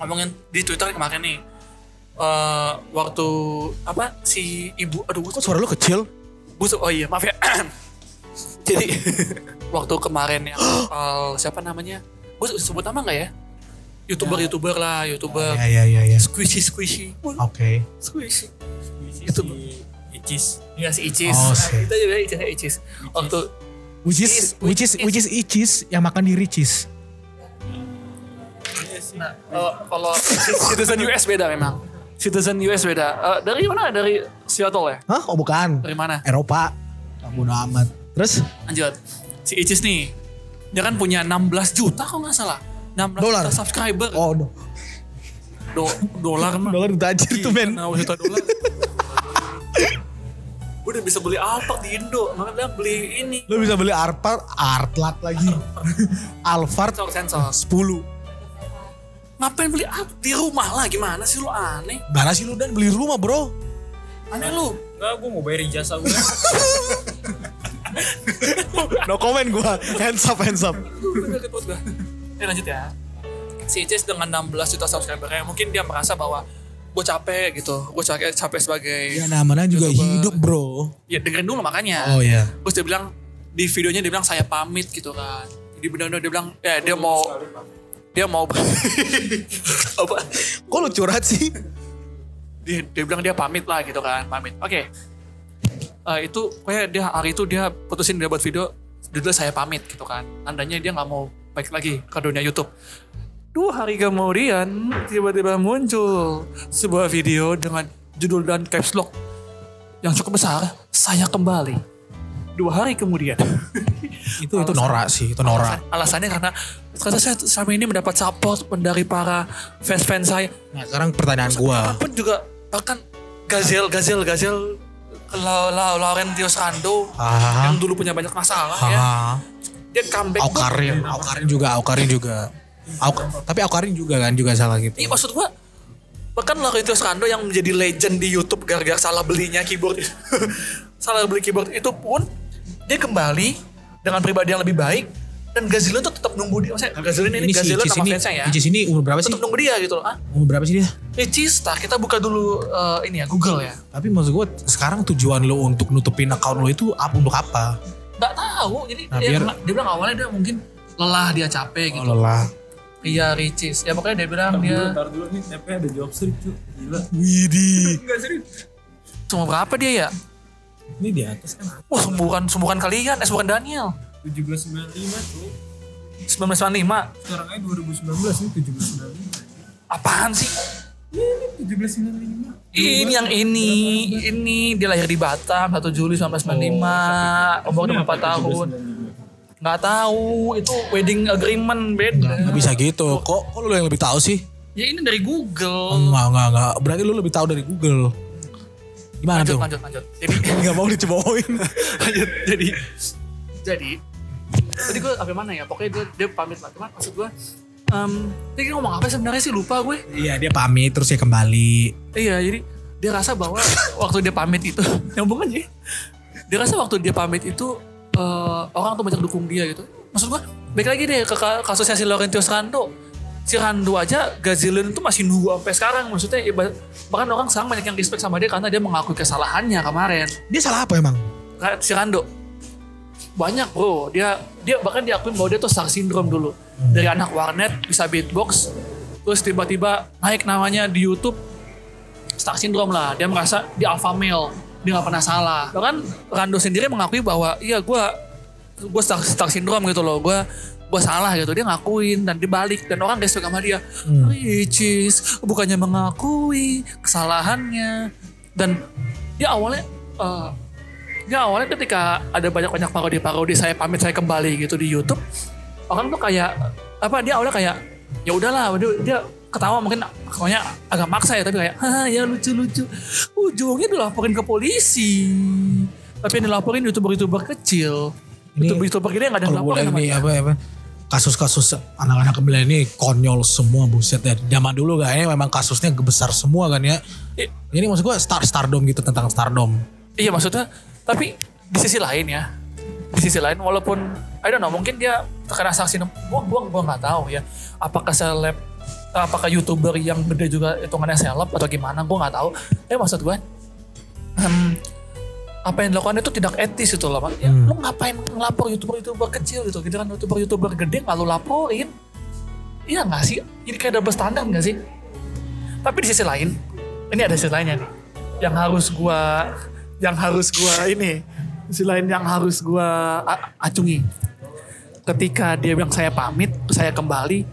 S2: Ngomongin di Twitter kemarin nih. Eh, waktu apa si ibu aduh
S1: kok suara lu kecil
S2: busuk oh iya maaf ya jadi waktu kemarin yang soal siapa namanya gue sebut nama nggak ya youtuber youtuber lah youtuber
S1: ya ya ya ya
S2: squishy squishy
S1: oke
S2: squishy
S3: itu
S2: Itu-
S3: Icis
S2: Iya si Icis.
S1: Oh, sih.
S2: Kita juga Icis ya Icis. Waktu
S1: which is which is which is icis yang makan di ricis
S3: iya sih
S2: eh, kalau citizen US beda memang. Citizen US beda. Eh, dari mana? Dari Seattle ya?
S1: hah oh bukan
S2: Dari mana?
S1: Eropa kamu amat terus
S2: Lanjut. Si Icis nih. Dia kan punya 16 juta kalau nggak salah. 16
S1: Dolar.
S2: juta subscriber.
S1: oh do-
S2: Do- dolar mah.
S1: dolar duta aja tuh men
S2: Nah, juta dolar. Gue udah bisa beli apa di Indo. Makanya bilang beli ini.
S1: lu bisa beli arpar artlat lagi alphard
S2: Sensor, sensor.
S1: 10
S2: Ngapain beli apa? Di rumah lah gimana sih lu aneh.
S1: Mana sih lu dan beli rumah bro?
S2: Aneh lu.
S3: enggak gue mau bayar ijazah gue
S1: No comment gue. Hands up, hands up.
S2: Udah, udah, udah. Eh lanjut ya. Si Icis dengan 16 juta subscribernya mungkin dia merasa bahwa gue capek gitu. Gue capek, capek sebagai
S1: Ya namanya juga
S2: YouTuber.
S1: hidup bro.
S2: Ya dengerin dulu makanya.
S1: Oh ya.
S2: Terus dia bilang di videonya dia bilang saya pamit gitu kan. Jadi benar-benar dia bilang ya dia mau dia mau apa?
S1: Kok lu curhat sih?
S2: Dia, dia bilang dia pamit lah gitu kan, pamit. Oke. Eh, itu kayak dia hari itu dia putusin dia buat video judulnya saya pamit gitu kan. Tandanya dia nggak mau baik lagi ke dunia YouTube. Dua hari kemudian tiba-tiba muncul sebuah video dengan judul dan caps lock yang cukup besar. Saya kembali. Dua hari kemudian.
S1: Itu itu norak sih, itu norak.
S2: Alasannya karena karena saya selama ini mendapat support dari para fans-fans saya.
S1: Nah sekarang pertanyaan gue.
S2: Apapun juga bahkan Gazel, Gazel, Gazel, La, La, Laurentius Rando
S1: Ah.
S2: yang dulu punya banyak masalah ya.
S1: Ah,
S2: Dia comeback.
S1: Aukarin, Aukarin juga, Aukarin juga. Auk- tapi Aukarin juga kan juga salah gitu.
S2: Iya maksud gua bahkan Laurentius Rando yang menjadi legend di YouTube gara-gara salah belinya keyboard salah beli keyboard itu pun dia kembali dengan pribadi yang lebih baik dan Gazelin tuh tetap nunggu dia. Maksudnya Gazelin ini,
S1: si
S2: Gazelin
S1: Icis
S2: sama
S1: ini,
S2: fansnya ya.
S1: Icis ini umur berapa sih?
S2: Tetap nunggu dia gitu loh. Ah,
S1: Umur berapa sih dia?
S2: Ricci Star, kita buka dulu eh, ini ya Google ya.
S1: Tapi maksud gue sekarang tujuan lo untuk nutupin account lo itu apa untuk apa?
S2: Nggak tahu, jadi
S1: Nah,
S2: dia,
S1: biar-
S2: dia bilang awalnya dia mungkin lelah dia capek gitu.
S1: Oh, lelah.
S2: Iya Ricis, ya pokoknya dia bilang
S3: Ntar dulu,
S2: dia
S3: ntar dulu nih tapi ada job street tuh gila
S1: Widih.
S3: enggak serius
S2: cuma berapa dia ya?
S3: ini di atas kan
S2: Wah semburan semburan kalian, eh semburan Daniel.
S3: 1795 tuh
S2: 1995,
S3: sekarang aja 2019 ini 1795
S2: apaan sih?
S3: Iya, ini 1795
S2: Ini yang ini, ini dia lahir di Batam 1 Juli
S1: Oh,
S2: 1995, umur 24 tahun. Nggak tahu, itu wedding agreement beda.
S1: Gak bisa gitu. Kok, kok lo yang lebih tahu sih?
S2: Ya ini dari Google.
S1: Enggak, enggak, enggak. Berarti lu lebih tahu dari Google. Gimana
S2: Lanjut,
S1: tuh?
S2: lanjut, lanjut. Jadi
S1: Enggak mau dicobain.
S2: lanjut jadi jadi tadi gue apa mana ya pokoknya dia dia pamit lah cuman maksud gue em dia ngomong apa sebenarnya sih lupa gue
S1: iya, dia pamit terus dia kembali.
S2: iya jadi dia rasa bahwa waktu dia pamit itu nyambung aja ya. dia rasa waktu dia pamit itu eh, orang tuh banyak dukung dia gitu maksud gue baik lagi deh ke ka- kasusnya si Laurentius Rando si Rando aja Gazilin itu masih nunggu sampai sekarang maksudnya ya, bah- bahkan orang sekarang banyak yang respect sama dia karena dia mengakui kesalahannya kemarin
S1: Dia salah apa emang?
S2: Ra- si Rando banyak bro dia dia bahkan diakuin bahwa dia tuh star syndrome dulu dari anak warnet bisa beatbox terus tiba-tiba naik namanya di YouTube star syndrome lah dia merasa dia alpha male dia nggak pernah salah bahkan Rando sendiri mengakui bahwa iya gua gue star, star syndrome gitu loh gue gue salah gitu dia ngakuin dan dibalik dan orang respect sama dia ricis bukannya mengakui kesalahannya dan dia Ya, awalnya eh, dia awalnya ketika ada banyak-banyak parodi-parodi saya pamit saya kembali gitu di YouTube orang tuh kayak apa dia awalnya kayak ya udahlah dia, dia ketawa mungkin pokoknya agak maksa ya tapi kayak Haha, ya lucu-lucu ujungnya dilaporin ke polisi tapi yang dilaporin youtuber-youtuber kecil
S1: Ini
S2: youtuber-youtuber gede nggak ada yang
S1: Kalau
S2: dilaporin
S1: boleh
S2: sama
S1: nih ya,
S2: dia.
S1: apa apa kasus-kasus anak-anak kebelah ini konyol semua buset ya. Zaman dulu kayaknya memang kasusnya besar semua kan ya.
S2: I-
S1: Ini maksud gue star stardom gitu tentang stardom.
S2: Iya maksudnya, tapi di sisi lain ya, di sisi lain walaupun I don't know mungkin dia terkena sanksi gua gua gua nggak tahu ya apakah seleb apakah youtuber yang gede juga hitungannya seleb atau gimana gua nggak tahu tapi maksud gua em, apa yang dilakukan itu tidak etis itu loh Mak. ya,
S1: Hmm.
S2: lu ngapain ngelapor youtuber youtuber kecil gitu gitu kan youtuber youtuber gede nggak lu laporin iya nggak sih jadi kayak double standar nggak sih tapi di sisi lain ini ada sisi lainnya nih yang harus gua yang harus gua ini sisi lain yang harus gua a- acungi ketika dia bilang saya pamit saya kembali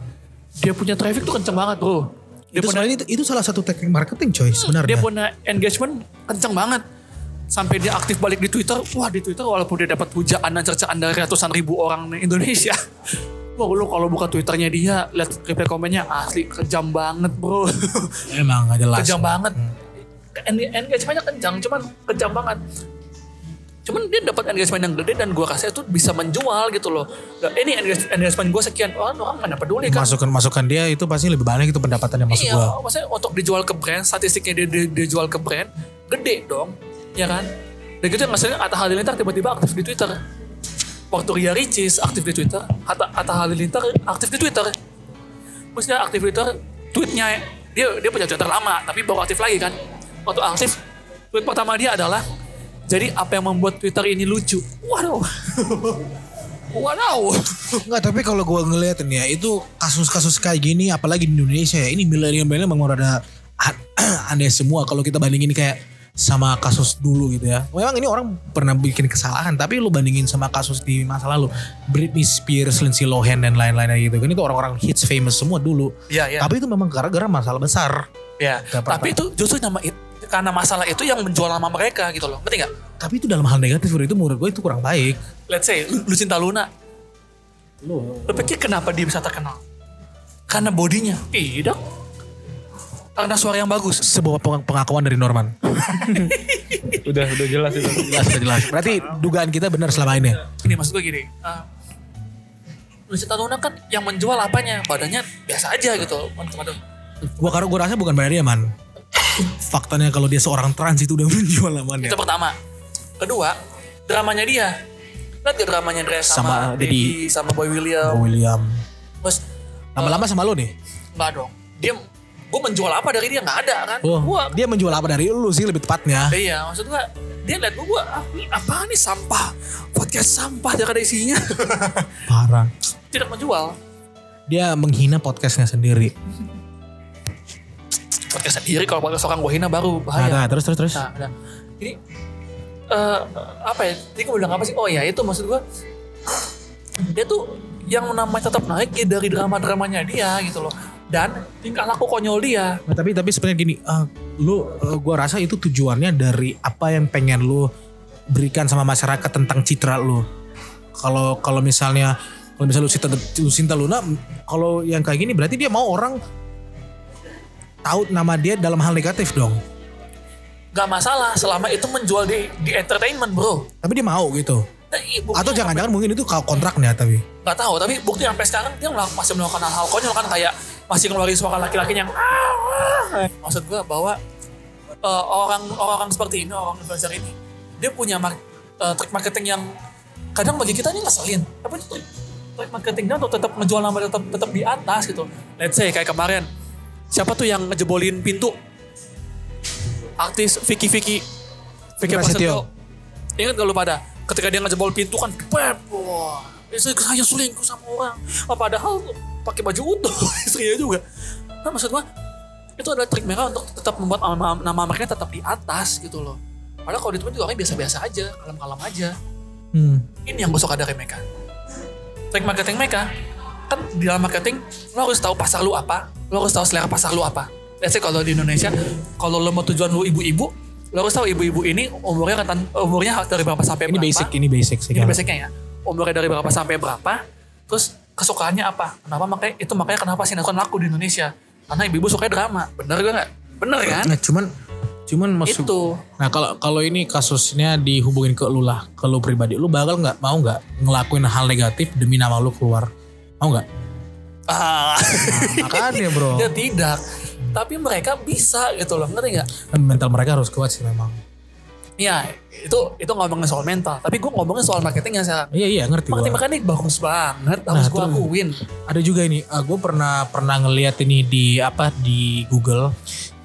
S2: dia punya traffic tuh kenceng banget bro dia
S1: itu,
S2: punya
S1: sebenarnya itu, itu salah satu teknik marketing coy
S2: dia
S1: sebenarnya.
S2: punya engagement kenceng banget sampai dia aktif balik di Twitter wah di Twitter walaupun dia dapat pujaan dan cercaan dari ratusan ribu orang di Indonesia wah lu kalau buka Twitternya dia lihat reply komennya asli kejam banget bro
S1: Emang gak jelas.
S2: kejam banget En- engagementnya kencang cuman kejam banget cuman dia dapat engagement yang gede dan gua kasih itu bisa menjual gitu loh Nah, ini engage- engagement gua sekian orang orang mana peduli kan
S1: Masukan-masukan dia itu pasti lebih banyak itu pendapatannya maksud
S2: iya,
S1: gue.
S2: maksudnya untuk dijual ke brand, statistiknya dia, dia, dia jual ke brand, gede dong, ya kan? Dan gitu yang ngeselin Atta Halilintar tiba-tiba aktif di Twitter. Waktu Ria Ricis aktif di Twitter, Atta, Atta Halilintar aktif di Twitter. Terus dia aktif di Twitter, tweetnya, dia, dia punya Twitter lama, tapi baru aktif lagi kan. Waktu aktif, tweet pertama dia adalah, jadi apa yang membuat Twitter ini lucu? Waduh. Waduh.
S1: Enggak tapi kalau gue ngeliatin ya itu kasus-kasus kayak gini apalagi di Indonesia ya ini milenial-milenial memang ada aneh semua kalau kita bandingin kayak sama kasus dulu gitu ya. Memang ini orang pernah bikin kesalahan tapi lu bandingin sama kasus di masa lalu Britney Spears, Lindsay Lohan dan lain-lainnya gitu. Kan itu orang-orang hits famous semua dulu.
S2: Iya, iya.
S1: Tapi itu memang gara-gara masalah besar.
S2: Ya,
S1: Gak apa-apa.
S2: tapi itu justru nama it- karena masalah itu yang menjual nama mereka gitu loh. Ngerti nggak?
S1: Tapi itu dalam hal negatif bro. itu menurut gue itu kurang baik.
S2: Let's say lu, lu cinta Luna.
S3: Lu
S2: Lu pikir kenapa dia bisa terkenal? Karena bodinya. Tidak. Karena suara yang bagus.
S1: Sebuah peng- pengakuan dari Norman.
S3: udah udah jelas itu.
S1: Jelas, jelas. Berarti dugaan kita benar selama ini.
S2: Gini maksud gue gini. eh, Lucinta Luna kan yang menjual apanya? Badannya biasa aja gitu. Teman-teman.
S1: Gua karena gua rasa bukan badannya man. Faktanya kalau dia seorang trans itu udah menjual ya.
S2: Itu
S1: namanya.
S2: pertama. Kedua, dramanya dia. Lihat gak dramanya Dres sama,
S1: Sama
S2: Dedi, sama Boy William.
S1: William.
S2: Terus
S1: Lama-lama sama lo nih.
S2: Enggak dong. Dia gue menjual apa dari dia nggak ada kan?
S1: Oh,
S2: Gua
S1: dia menjual apa dari lu sih lebih tepatnya.
S2: iya maksud gua dia liat gue gua ah, ini apa nih sampah podcast sampah tidak ada isinya
S1: Parah.
S2: tidak menjual
S1: Dia menghina podcastnya sendiri.
S2: podcast sendiri kalau podcast orang gua hina baru
S1: Nah,
S2: bahaya.
S1: nah, terus terus terus.
S2: Nah, nah. Jadi eh, apa ya? Tadi gue bilang apa sih? Oh ya itu maksud gue. Dia tuh yang namanya tetap naik ya dari drama-dramanya dia gitu loh. Dan tingkah laku konyol dia.
S1: Nah, tapi tapi sebenarnya gini, eh, lu eh, gua rasa itu tujuannya dari apa yang pengen lu berikan sama masyarakat tentang citra lu. Kalau kalau misalnya kalau misalnya Lucinta, Lucinta Luna kalau yang kayak gini berarti dia mau orang tahu nama dia dalam hal negatif dong.
S2: Gak masalah selama itu menjual di, di entertainment bro.
S1: Tapi dia mau gitu.
S2: Nah, iya, buktinya
S1: Atau jangan-jangan mungkin itu kontraknya tapi.
S2: nggak tahu tapi bukti sampai sekarang dia melak- masih melakukan hal-hal konyol kan kayak masih ngeluarin suara laki-laki yang "Ah, ah." maksud gua bahwa eh, orang orang seperti ini orang influencer ini dia punya mar- eh, trik marketing yang kadang bagi kita ini ngeselin tapi itu trik, trik marketingnya untuk tetap menjual nama tetap tetap di atas gitu let's say kayak kemarin siapa tuh yang ngejebolin pintu artis Vicky Vicky Vicky
S1: Prasetyo.
S2: Prasetyo ingat gak lu pada ketika dia ngejebol pintu kan pep wah istri saya selingkuh sama orang Wah, padahal pakai baju utuh istrinya juga nah maksud gua itu adalah trik mereka untuk tetap membuat nama, nama mereka tetap di atas gitu loh padahal kalau di temen juga orangnya biasa-biasa aja kalem-kalem aja
S1: Hmm.
S2: ini yang gue suka dari mereka trik marketing mereka kan di dalam marketing lo harus tahu pasar lu apa lo harus tahu selera pasar lu apa let's say kalau di Indonesia kalau lo mau tujuan lu ibu-ibu lo harus tahu ibu-ibu ini umurnya rentan umurnya dari berapa
S1: Ini
S2: sampai berapa
S1: basic, ini basic sih.
S2: ini
S1: Kak.
S2: basicnya ya umurnya dari berapa sampai berapa terus kesukaannya apa kenapa makanya itu makanya kenapa sinetron laku di Indonesia karena ibu-ibu suka drama bener gak nggak bener kan
S1: Nah, cuman cuman maksud
S2: itu
S1: Nah kalau kalau ini kasusnya dihubungin ke lu lah, ke lu pribadi, lu bakal nggak mau nggak ngelakuin hal negatif demi nama lu keluar, mau nggak?
S2: ah
S1: Nah, makanya bro,
S2: ya tidak tapi mereka bisa gitu loh ngerti nggak
S1: Kan mental mereka harus kuat sih memang.
S2: Iya, itu itu ngomongin soal mental. Tapi gue ngomongin soal marketing yang sekarang.
S1: Iya iya ngerti.
S2: Marketing
S1: gua.
S2: makanya bagus banget, harus
S1: Nah,
S2: gue
S1: terus.
S2: akuin.
S1: Ada juga ini, gue pernah pernah ngeliat ini di apa di Google.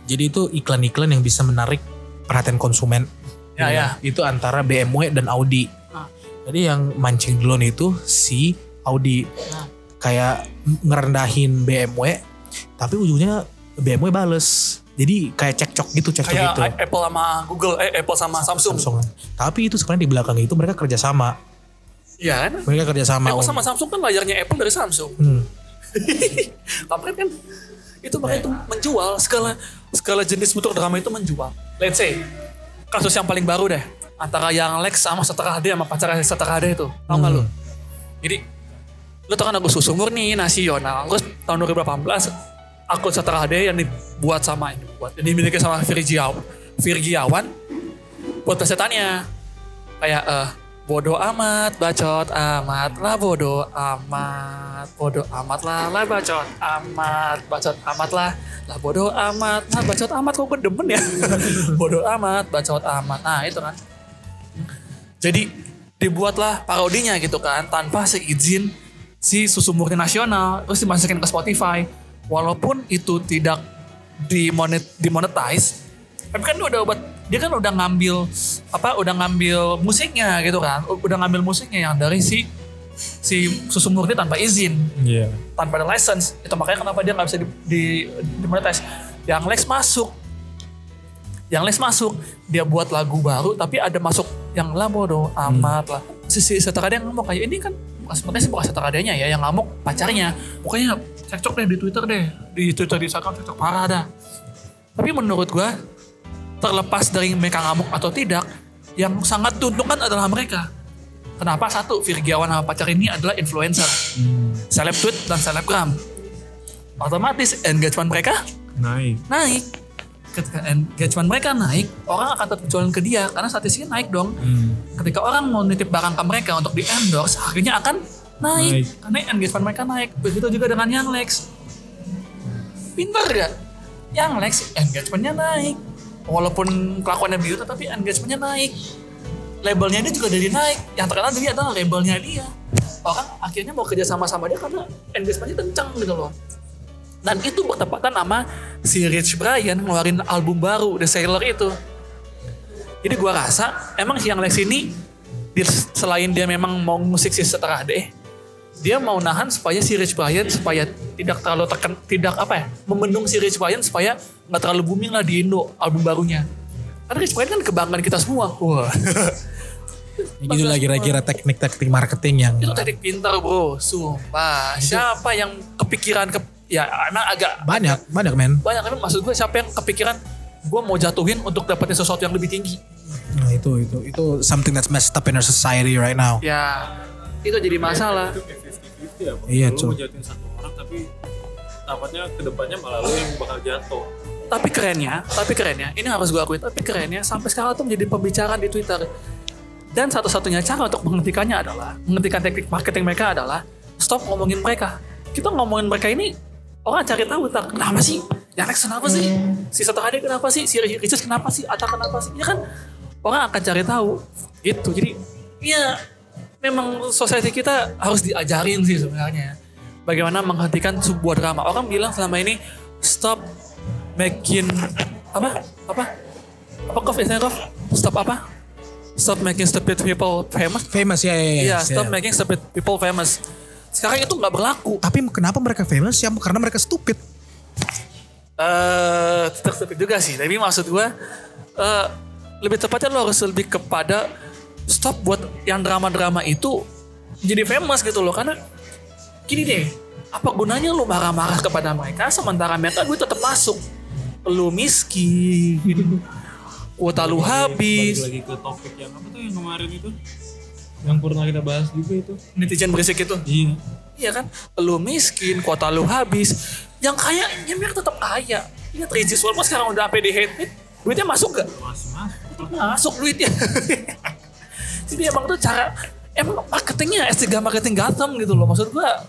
S1: Jadi itu iklan-iklan yang bisa menarik perhatian konsumen. Gitu kan?
S2: Ya, ya.
S1: Itu antara BMW dan Audi.
S2: Ah.
S1: Jadi yang mancing duluan itu si Audi.
S2: Nah.
S1: Kayak ngerendahin BMW, tapi ujungnya BMW bales. Jadi kayak cekcok gitu, cekcok
S2: Kayak
S1: gitu.
S2: Apple sama Google, eh Apple sama Samsung.
S1: Samsung. Tapi itu sebenarnya di belakang itu mereka kerjasama.
S2: Iya kan?
S1: Mereka kerjasama. Om.
S2: Apple sama Samsung kan layarnya Apple dari Samsung.
S1: Hmm.
S2: Tapi kan itu makanya itu menjual segala segala jenis bentuk drama itu menjual. Let's say kasus yang paling baru deh antara yang Lex sama Setengah D sama pacarnya Setengah D itu. Tahu nggak lu? Jadi lu tau kan Agus Sumur nih nasional. Terus tahun 2018 akun Setengah D yang dibuat sama yang dibuat yang dimiliki sama Virgiawan, Virgiawan buat pesertanya kayak eh bodoh amat bacot amat lah bodoh amat bodoh amat lah lah bacot amat bacot amat lah lah bodoh amat lah bacot amat kok gue demen ya bodoh amat bacot amat nah itu kan jadi dibuatlah parodinya gitu kan tanpa seizin si susu murni nasional terus dimasukin ke Spotify walaupun itu tidak dimonet dimonetize tapi kan dia udah buat dia kan udah ngambil apa udah ngambil musiknya gitu kan udah ngambil musiknya yang dari si si susu murni tanpa izin
S1: Iya.
S2: tanpa ada license itu makanya kenapa dia nggak bisa di, di dimonetize. yang Lex masuk yang Lex masuk dia buat lagu baru tapi ada masuk yang lah bodoh amat lah si, si setara dia ngamuk kayak ini kan sebenarnya sih bukan setara dianya ya yang ngamuk pacarnya pokoknya cekcok deh di Twitter deh di Twitter di Instagram cekcok parah dah tapi menurut gua terlepas dari mereka ngamuk atau tidak yang sangat diuntungkan adalah mereka kenapa satu Virgiawan sama pacar ini adalah influencer seleb tweet dan selebgram. Otomatis engagement mereka
S3: Naik.
S2: naik. Ketika engagement mereka naik, orang akan tetap jualan ke dia karena statistiknya naik dong. Ketika orang mau nitip barang ke mereka untuk di endorse, harganya akan naik,
S3: Naik.
S2: karena engagement mereka naik. Begitu juga dengan yang Lex. Pinter gak? Yang Lex engagementnya naik. Walaupun kelakuannya biru tapi engagementnya naik. Labelnya dia juga jadi naik. Yang terkenal dia adalah labelnya dia. Orang akhirnya mau kerja sama sama dia karena engagementnya kencang gitu loh. Dan itu bertepatan sama si Rich Brian ngeluarin album baru The Sailor itu. Jadi gua rasa emang si yang Lex ini di- selain dia memang mau musik si setengah deh, dia mau nahan supaya si Rich Brian supaya tidak terlalu tekan tidak apa ya membendung si Rich Brian supaya nggak terlalu booming lah di Indo album barunya. Karena Rich Brian kan kebanggaan kita semua. Wah.
S1: Ya, gitu lah kira-kira teknik-teknik marketing yang
S2: itu teknik pintar bro, sumpah. Siapa yang kepikiran ke ya emang agak
S1: banyak banyak men.
S2: banyak tapi maksud gue siapa yang kepikiran gue mau jatuhin untuk dapetin sesuatu yang lebih tinggi
S1: Nah, itu itu itu something that's messed up in our society right now.
S2: ya itu jadi masalah
S3: Itu kayak 50-50 apa?
S1: Iya,
S3: Lu
S1: Cuk.
S3: mau jatuhin satu orang tapi tampaknya kedepannya malah lu yang bakal jatuh.
S2: tapi kerennya tapi kerennya ini harus gue akui tapi kerennya sampai sekarang tuh menjadi pembicaraan di twitter dan satu-satunya cara untuk menghentikannya adalah menghentikan teknik marketing mereka adalah stop ngomongin mereka kita ngomongin mereka ini orang cari tahu tak kenapa sih Yanex kenapa sih si satu hari kenapa sih si Richard kenapa sih Atta kenapa sih ya kan orang akan cari tahu gitu jadi ya memang society kita harus diajarin sih sebenarnya bagaimana menghentikan sebuah drama orang bilang selama ini stop making apa apa apa kof istilahnya kof stop apa Stop making stupid people famous.
S1: Famous ya ya ya.
S2: Iya,
S1: ya.
S2: stop making stupid people famous. Sekarang itu nggak berlaku.
S1: Tapi kenapa mereka famous? Ya karena mereka stupid.
S2: eh tetap stupid juga sih. Tapi maksud gue eh lebih tepatnya lo harus lebih kepada stop buat yang drama-drama itu jadi famous gitu loh. Karena gini deh, apa gunanya lo marah-marah kepada mereka sementara mereka gue tetap masuk. Lo miskin, kuota lu
S3: Balik
S2: habis,
S3: lagi ke topik yang apa tuh yang kemarin itu? Yang pernah kita bahas juga itu.
S2: netizen berisik itu.
S3: Iya.
S2: Iya kan? Lu miskin, kuota lu habis. Yang kaya, ya mereka tetap kaya. Lihat Regis Walcott sekarang udah sampai di hate hate, duitnya masuk gak?
S3: Masuk masuk.
S2: Masuk duitnya. Jadi emang tuh cara, emang marketingnya S3 marketing Gotham gitu loh. Maksud gua,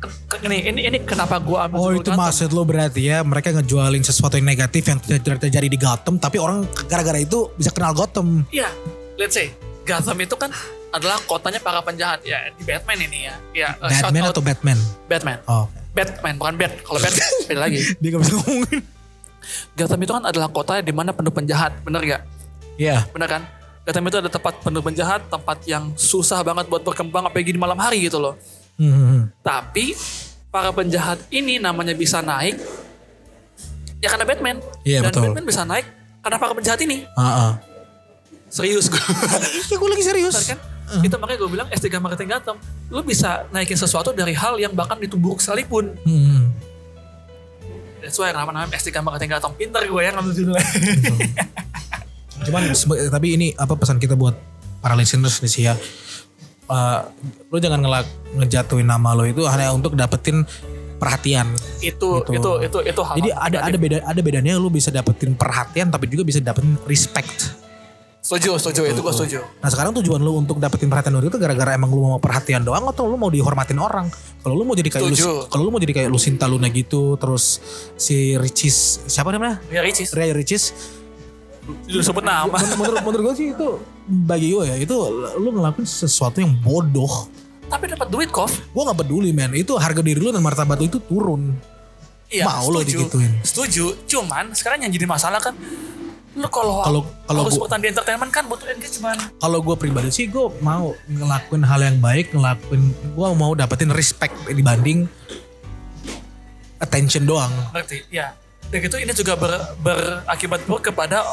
S2: ke- ke- ini, ini, ini kenapa gua ambil
S1: Oh
S2: judul
S1: itu
S2: Gotham.
S1: maksud lo berarti ya mereka ngejualin sesuatu yang negatif yang tidak terjadi di Gotham tapi orang gara-gara itu bisa kenal Gotham.
S2: Iya, let's say Gotham itu kan adalah kotanya para penjahat. Ya, di Batman ini ya. Ya, eh, shout
S1: Batman
S2: out
S1: atau Batman?
S2: Batman.
S1: Oh.
S2: Batman, bukan Bat. Kalau Bat, beda lagi.
S1: Dia gak bisa ngomongin.
S2: Gotham itu kan adalah kota di mana penuh penjahat, bener gak?
S1: Iya.
S2: Bener kan? Gotham itu ada tempat penuh penjahat, tempat yang susah banget buat berkembang apalagi di malam hari gitu loh.
S1: Hmm.
S2: Tapi para penjahat ini namanya bisa naik ya karena Batman.
S1: Iya,
S2: Dan
S1: betul.
S2: Batman bisa naik karena para penjahat ini.
S1: Heeh.
S2: Serius gue.
S1: Iya gue Uh-uh. lagi serius. Eh.
S2: Bener kan? Itu makanya gue bilang S3 Marketing Gotham. Lu bisa naikin sesuatu dari hal yang bahkan itu buruk sekalipun.
S1: Hmm.
S2: That's why kenapa namanya S3 Marketing Gotham. Pinter gue ya ngambil judulnya.
S1: Cuman sebe- tapi ini apa pesan kita buat para listeners nih sih ya. Eh, lo jangan ngelak ngejatuhin nama lo itu hanya untuk dapetin perhatian.
S2: itu,
S1: Gitu.
S2: itu, itu, itu hal.
S1: Jadi ada ada beda ada bedanya lo bisa dapetin perhatian tapi juga bisa dapetin respect.
S2: Setuju, setuju. Itu gue setuju.
S1: Nah sekarang tujuan lo untuk dapetin perhatian orang itu gara-gara emang lo mau perhatian doang atau lo mau dihormatin orang? Kalau lo mau jadi kayak
S2: Setuju.
S1: lu, kalau lo mau jadi kayak Lucinta Luna gitu, terus si Ricis siapa namanya?
S2: Ya Ricis.
S1: Ray Ricis
S2: Lu sebut nama.
S1: Men- menurut menurut gue sih itu bagi gue ya itu lu ngelakuin sesuatu yang bodoh
S2: Tapi dapat duit kok.
S1: gue nggak peduli men itu harga diri lu dan martabat lu itu turun Mau lo digituin.
S2: Iya, Setuju. Cuman sekarang yang jadi masalah kan lu kalau
S1: Kalau- kalau
S2: harus
S1: gua-
S2: bertahan di entertainment kan butuh engagement.
S1: kalau gue pribadi sih gue mau ngelakuin hal yang baik ngelakuin gue mau dapetin respect dibanding attention doang
S2: Ngerti? Ya. Dan itu ini juga ber- berakibat buruk kepada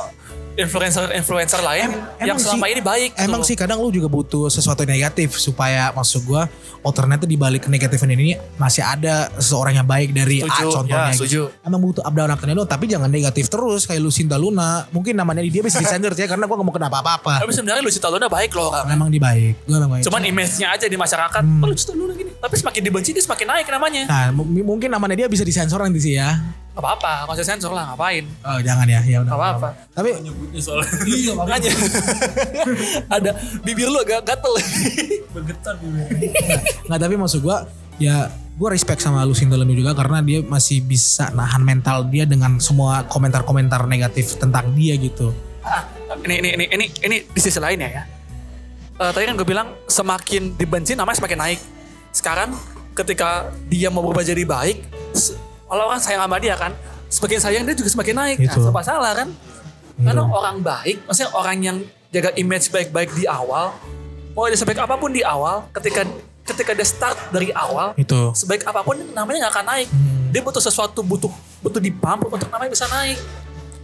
S2: influencer-influencer lain yang selama ini baik. gitu
S1: emang
S2: loh.
S1: sih kadang lu juga butuh sesuatu yang negatif supaya maksud gue alternate di balik negatifan ini masih ada seseorang yang baik dari A
S2: Setuju,
S1: contohnya
S2: ya,
S1: gitu.
S2: setuju.
S1: emang butuh up down up down, down, tapi jangan negatif terus kayak Lucinta Luna mungkin namanya dia bisa disender ya karena gue gak mau kenapa apa apa
S2: Tapi sebenarnya Lucita Luna baik loh kan.
S1: emang dia baik gue emang Hmm. baik
S2: Cuman image-nya aja di masyarakat, oh, Lucita Luna gini. Tapi semakin dibenci dia semakin naik namanya.
S1: nah m- mungkin namanya dia bisa disensor nanti sih ya
S2: Gak apa-apa, nggak usah sensor lah ngapain.
S1: oh, jangan ya ya udah
S2: Gak apa-apa.
S1: tapi
S3: Nyebutnya soalnya.
S2: Iya makanya. Ada bibir lu agak gatel.
S3: Begetar di
S1: nggak tapi maksud gue ya gue respect sama Lucinta Luna juga karena dia masih bisa nahan mental dia dengan semua komentar-komentar negatif tentang dia gitu
S2: Ah, ini ini ini ini ini di sisi lain ya ya. Eh, tadi kan gue bilang semakin dibenci namanya semakin naik. Sekarang ketika dia mau berubah jadi baik, se- kalau orang sayang sama dia kan, semakin sayang dia juga semakin naik.
S1: Gitu.
S2: Nah, serba salah kan? Karena orang baik, maksudnya orang yang jaga image baik-baik di awal, mau dia sebaik apapun di awal, ketika ketika dia start dari awal,
S1: itu
S2: sebaik apapun namanya nggak akan naik. Dia butuh sesuatu butuh butuh dipump untuk namanya bisa naik.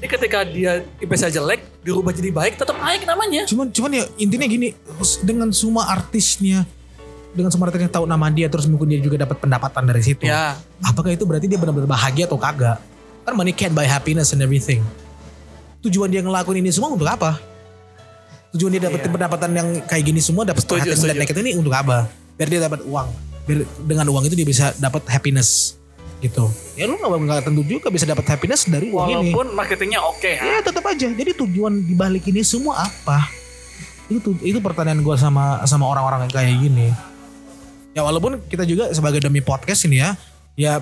S2: Jadi ketika dia bisa jelek dirubah jadi baik tetap naik namanya.
S1: cuman cuman ya intinya gini dengan semua artisnya dengan semua artisnya tahu nama dia terus mungkin dia juga dapat pendapatan dari situ
S2: Ya.
S1: apakah itu berarti dia benar-benar bahagia atau kagak kan money can't buy happiness and everything tujuan dia ngelakuin ini semua untuk apa tujuan dia dapetin pendapatan yang kayak gini semua dapat
S2: Iya. Setuju,
S1: perhatian dan
S2: setuju.
S1: negatif ini untuk apa biar dia dapat uang biar dengan uang itu dia bisa dapat happiness gitu ya lu nggak nggak tentu juga bisa dapat happiness dari uang ini
S2: Walaupun marketingnya oke ya.
S1: Ya tetap aja. Jadi tujuan dibalik ini semua apa? Itu itu pertanyaan gue sama sama orang-orang yang kayak gini. Ya walaupun kita juga sebagai demi podcast ini ya, ya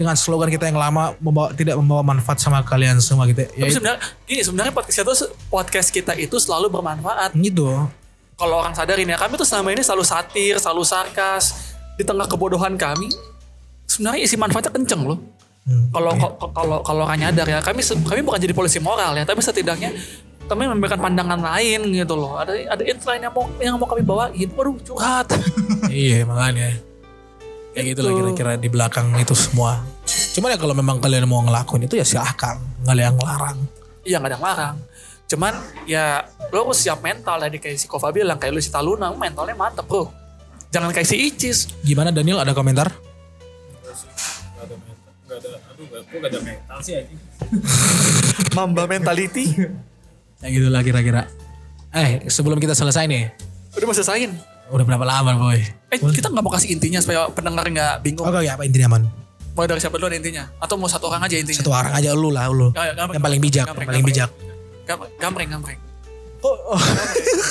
S1: dengan slogan kita yang lama membawa tidak membawa manfaat sama kalian semua gitu. Ya
S2: Tapi sebenarnya gini sebenarnya podcast kita tuh- podcast kita itu selalu bermanfaat.
S1: gitu.
S2: Kalau orang sadarin ya kami tuh selama ini selalu satir, selalu sarkas di tengah kebodohan kami. Sebenarnya isi manfaatnya kenceng loh.
S1: Hmm,
S2: Kalau kalau kalau kalau orang nyadar ya kami se- kami bukan jadi polisi moral ya, tapi setidaknya kami memberikan pandangan lain gitu loh. Ada ada insight lain yang mau yang mau kami bawain. Waduh curhat.
S1: iya makanya. Ya gitu lah
S2: Gitu.
S1: kira-kira di belakang itu semua. Cuman ya kalau memang kalian mau ngelakuin itu ya silahkan. Nggak ada yang larang.
S2: Iya nggak ada yang larang. Cuman ya lo harus siap mental tadi kayak si Kova bilang kayak Lucita Luna mentalnya mantep bro. Jangan kayak si Icis.
S1: Gimana Daniel ada komentar?
S3: Gak ada mental. Gak ada, aduh gak, kok gak ada mental sih anjing.
S2: Mamba mentality.
S1: Ya gitu lah kira-kira. Eh sebelum kita selesai nih.
S2: Udah mau selesain.
S1: Udah berapa lama boy?
S2: Eh kita nggak mau kasih intinya supaya pendengar nggak bingung.
S1: Oke ya apa intinya man?
S2: Mau dari siapa duluan intinya? Atau mau satu orang aja intinya?
S1: Satu orang aja lu lah lu.
S2: Ya, ya, gambreng,
S1: yang paling bijak.
S2: gambreng,
S1: yang paling bijak.
S2: gambreng. Gam- Gambreng, gambreng.
S1: Kok,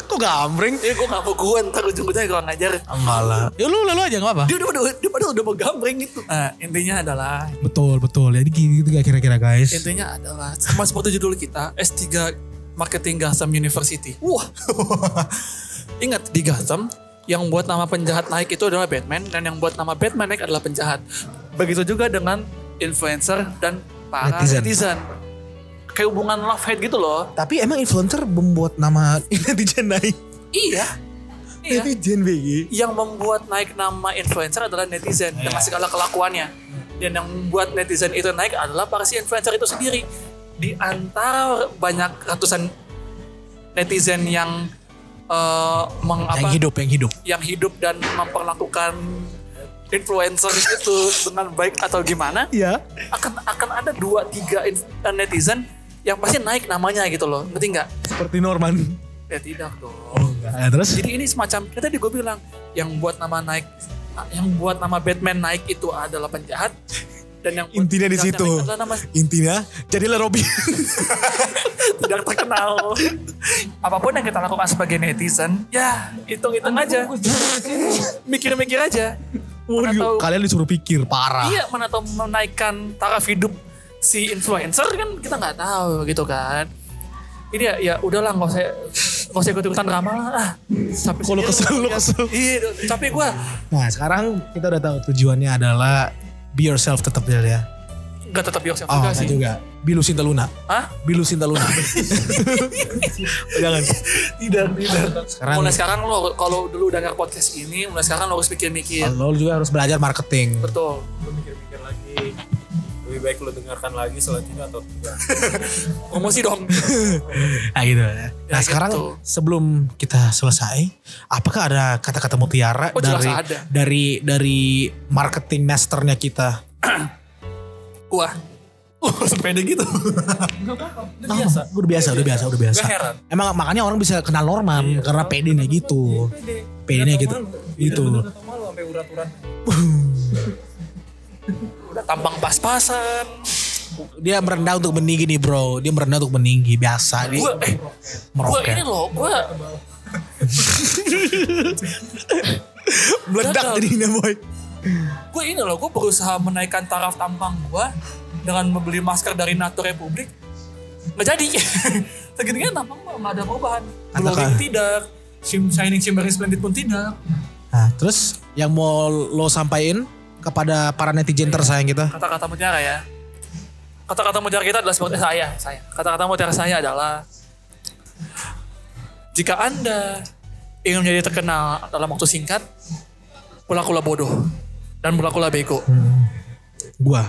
S1: kok gambreng?
S2: Ya gue gak mau gue ntar ujung-ujungnya kurang ngajar.
S1: Enggak lah. Ya lu, lu, lu aja gak apa-apa.
S2: Dia udah, udah, dia padahal udah mau gambreng gitu. Nah, intinya adalah,
S1: Betul, betul. Jadi gitu gak kira-kira guys.
S2: intinya adalah sama seperti judul kita, S3 Marketing Gotham University. Wah. Ingat di Gotham, yang buat nama penjahat naik itu adalah Batman dan yang buat nama Batman naik adalah penjahat. Begitu juga dengan influencer dan para
S1: Netizen.
S2: netizen. Kayak hubungan love hate gitu loh.
S1: Tapi emang influencer membuat nama netizen naik.
S2: Iya. Iya.
S1: Netizen BG.
S2: yang membuat naik nama influencer adalah netizen
S1: Iya.
S2: dengan segala kelakuannya. Dan yang membuat netizen itu naik adalah para si influencer itu sendiri. Di antara banyak ratusan netizen yang eh, meng-
S1: Yang
S2: apa,
S1: hidup, yang hidup.
S2: yang hidup dan memperlakukan influencer itu dengan baik atau gimana,
S1: Iya.
S2: akan akan ada dua tiga inf- eh, netizen yang pasti naik namanya gitu loh, ngerti nggak?
S1: Seperti Norman.
S2: Ya tidak dong.
S1: Ya, terus?
S2: Jadi ini semacam kayak tadi gue bilang yang buat nama naik yang buat nama Batman naik itu adalah penjahat dan yang buat
S1: Intinya di
S2: penjahat
S1: situ.
S2: naik adalah nama
S1: Intinya, jadilah Robin.
S2: tidak terkenal. Apapun yang kita lakukan sebagai netizen, ya hitung-hitung aja. Mikir-mikir aja. Mana tahu,
S1: Kalian disuruh pikir, parah.
S2: iya mana tahu menaikkan taraf hidup si influencer kan kita nggak tahu gitu kan. Ini ya, ya udahlah nggak usah nggak usah ikut ikutan drama lah. Ah, sampai
S1: Kalau kesel, lu kesel.
S2: Iya, tapi gue
S1: Nah, sekarang kita udah tahu tujuannya adalah be yourself tetap Del, ya.
S2: Gak tetap Yoxia
S1: Oh,
S2: juga
S1: nggak
S2: sih.
S1: juga. Be Lucinta Luna.
S2: Hah?
S1: Be Lucinta Luna. Oh, Jangan.
S2: Tidak, tidak.
S1: Sekarang
S2: mulai sekarang lo kalau dulu udah nggak podcast ini, mulai sekarang lo harus pikir-mikir.
S1: lo juga harus belajar marketing.
S2: Betul.
S3: Lu mikir-mikir lagi. Lebih baik lu dengarkan lagi selanjutnya atau tidak.
S2: Promosi dong.
S1: Nah gitu. Nah
S2: Ya,
S1: sekarang
S2: gitu.
S1: sebelum kita selesai, apakah ada kata-kata mutiara
S2: Oh, jelas
S1: dari
S2: ada.
S1: dari dari marketing masternya kita?
S2: Wah.
S1: Oh,
S2: Uh, sepeda gitu.
S1: Nah, udah biasa, udah biasa, udah biasa.
S3: Gak heran.
S1: Emang makanya orang bisa kenal Norman karena PD-nya gitu. PD-nya gitu. Itu.
S3: Atau malu sampai urat-urat.
S2: Udah tampang pas-pasan.
S1: Dia merendah untuk meninggi nih, Bro. Dia merendah untuk meninggi biasa nih.
S2: Gue eh, gue
S1: Meroket.
S2: ini loh, gue
S1: Meledak
S2: gagal.
S1: jadinya, boy.
S2: gue ini loh, gue berusaha menaikkan taraf tampang gue dengan membeli masker dari Nato Republik. Nggak jadi. Segitunya tampang gue nggak ada perubahan. Glowing
S1: Katakan.
S2: tidak. Shim, shining Shimmering Splendid pun tidak.
S1: Nah, terus yang mau lo sampaikan kepada para netizen tersayang kita?
S2: kata-kata mutiara ya. Kata-kata mutiara kita adalah seperti saya, saya. Kata-kata mutiara saya adalah jika Anda ingin menjadi terkenal dalam waktu singkat, berlakulah bodoh dan berlakulah bego.
S1: Hmm. Gua.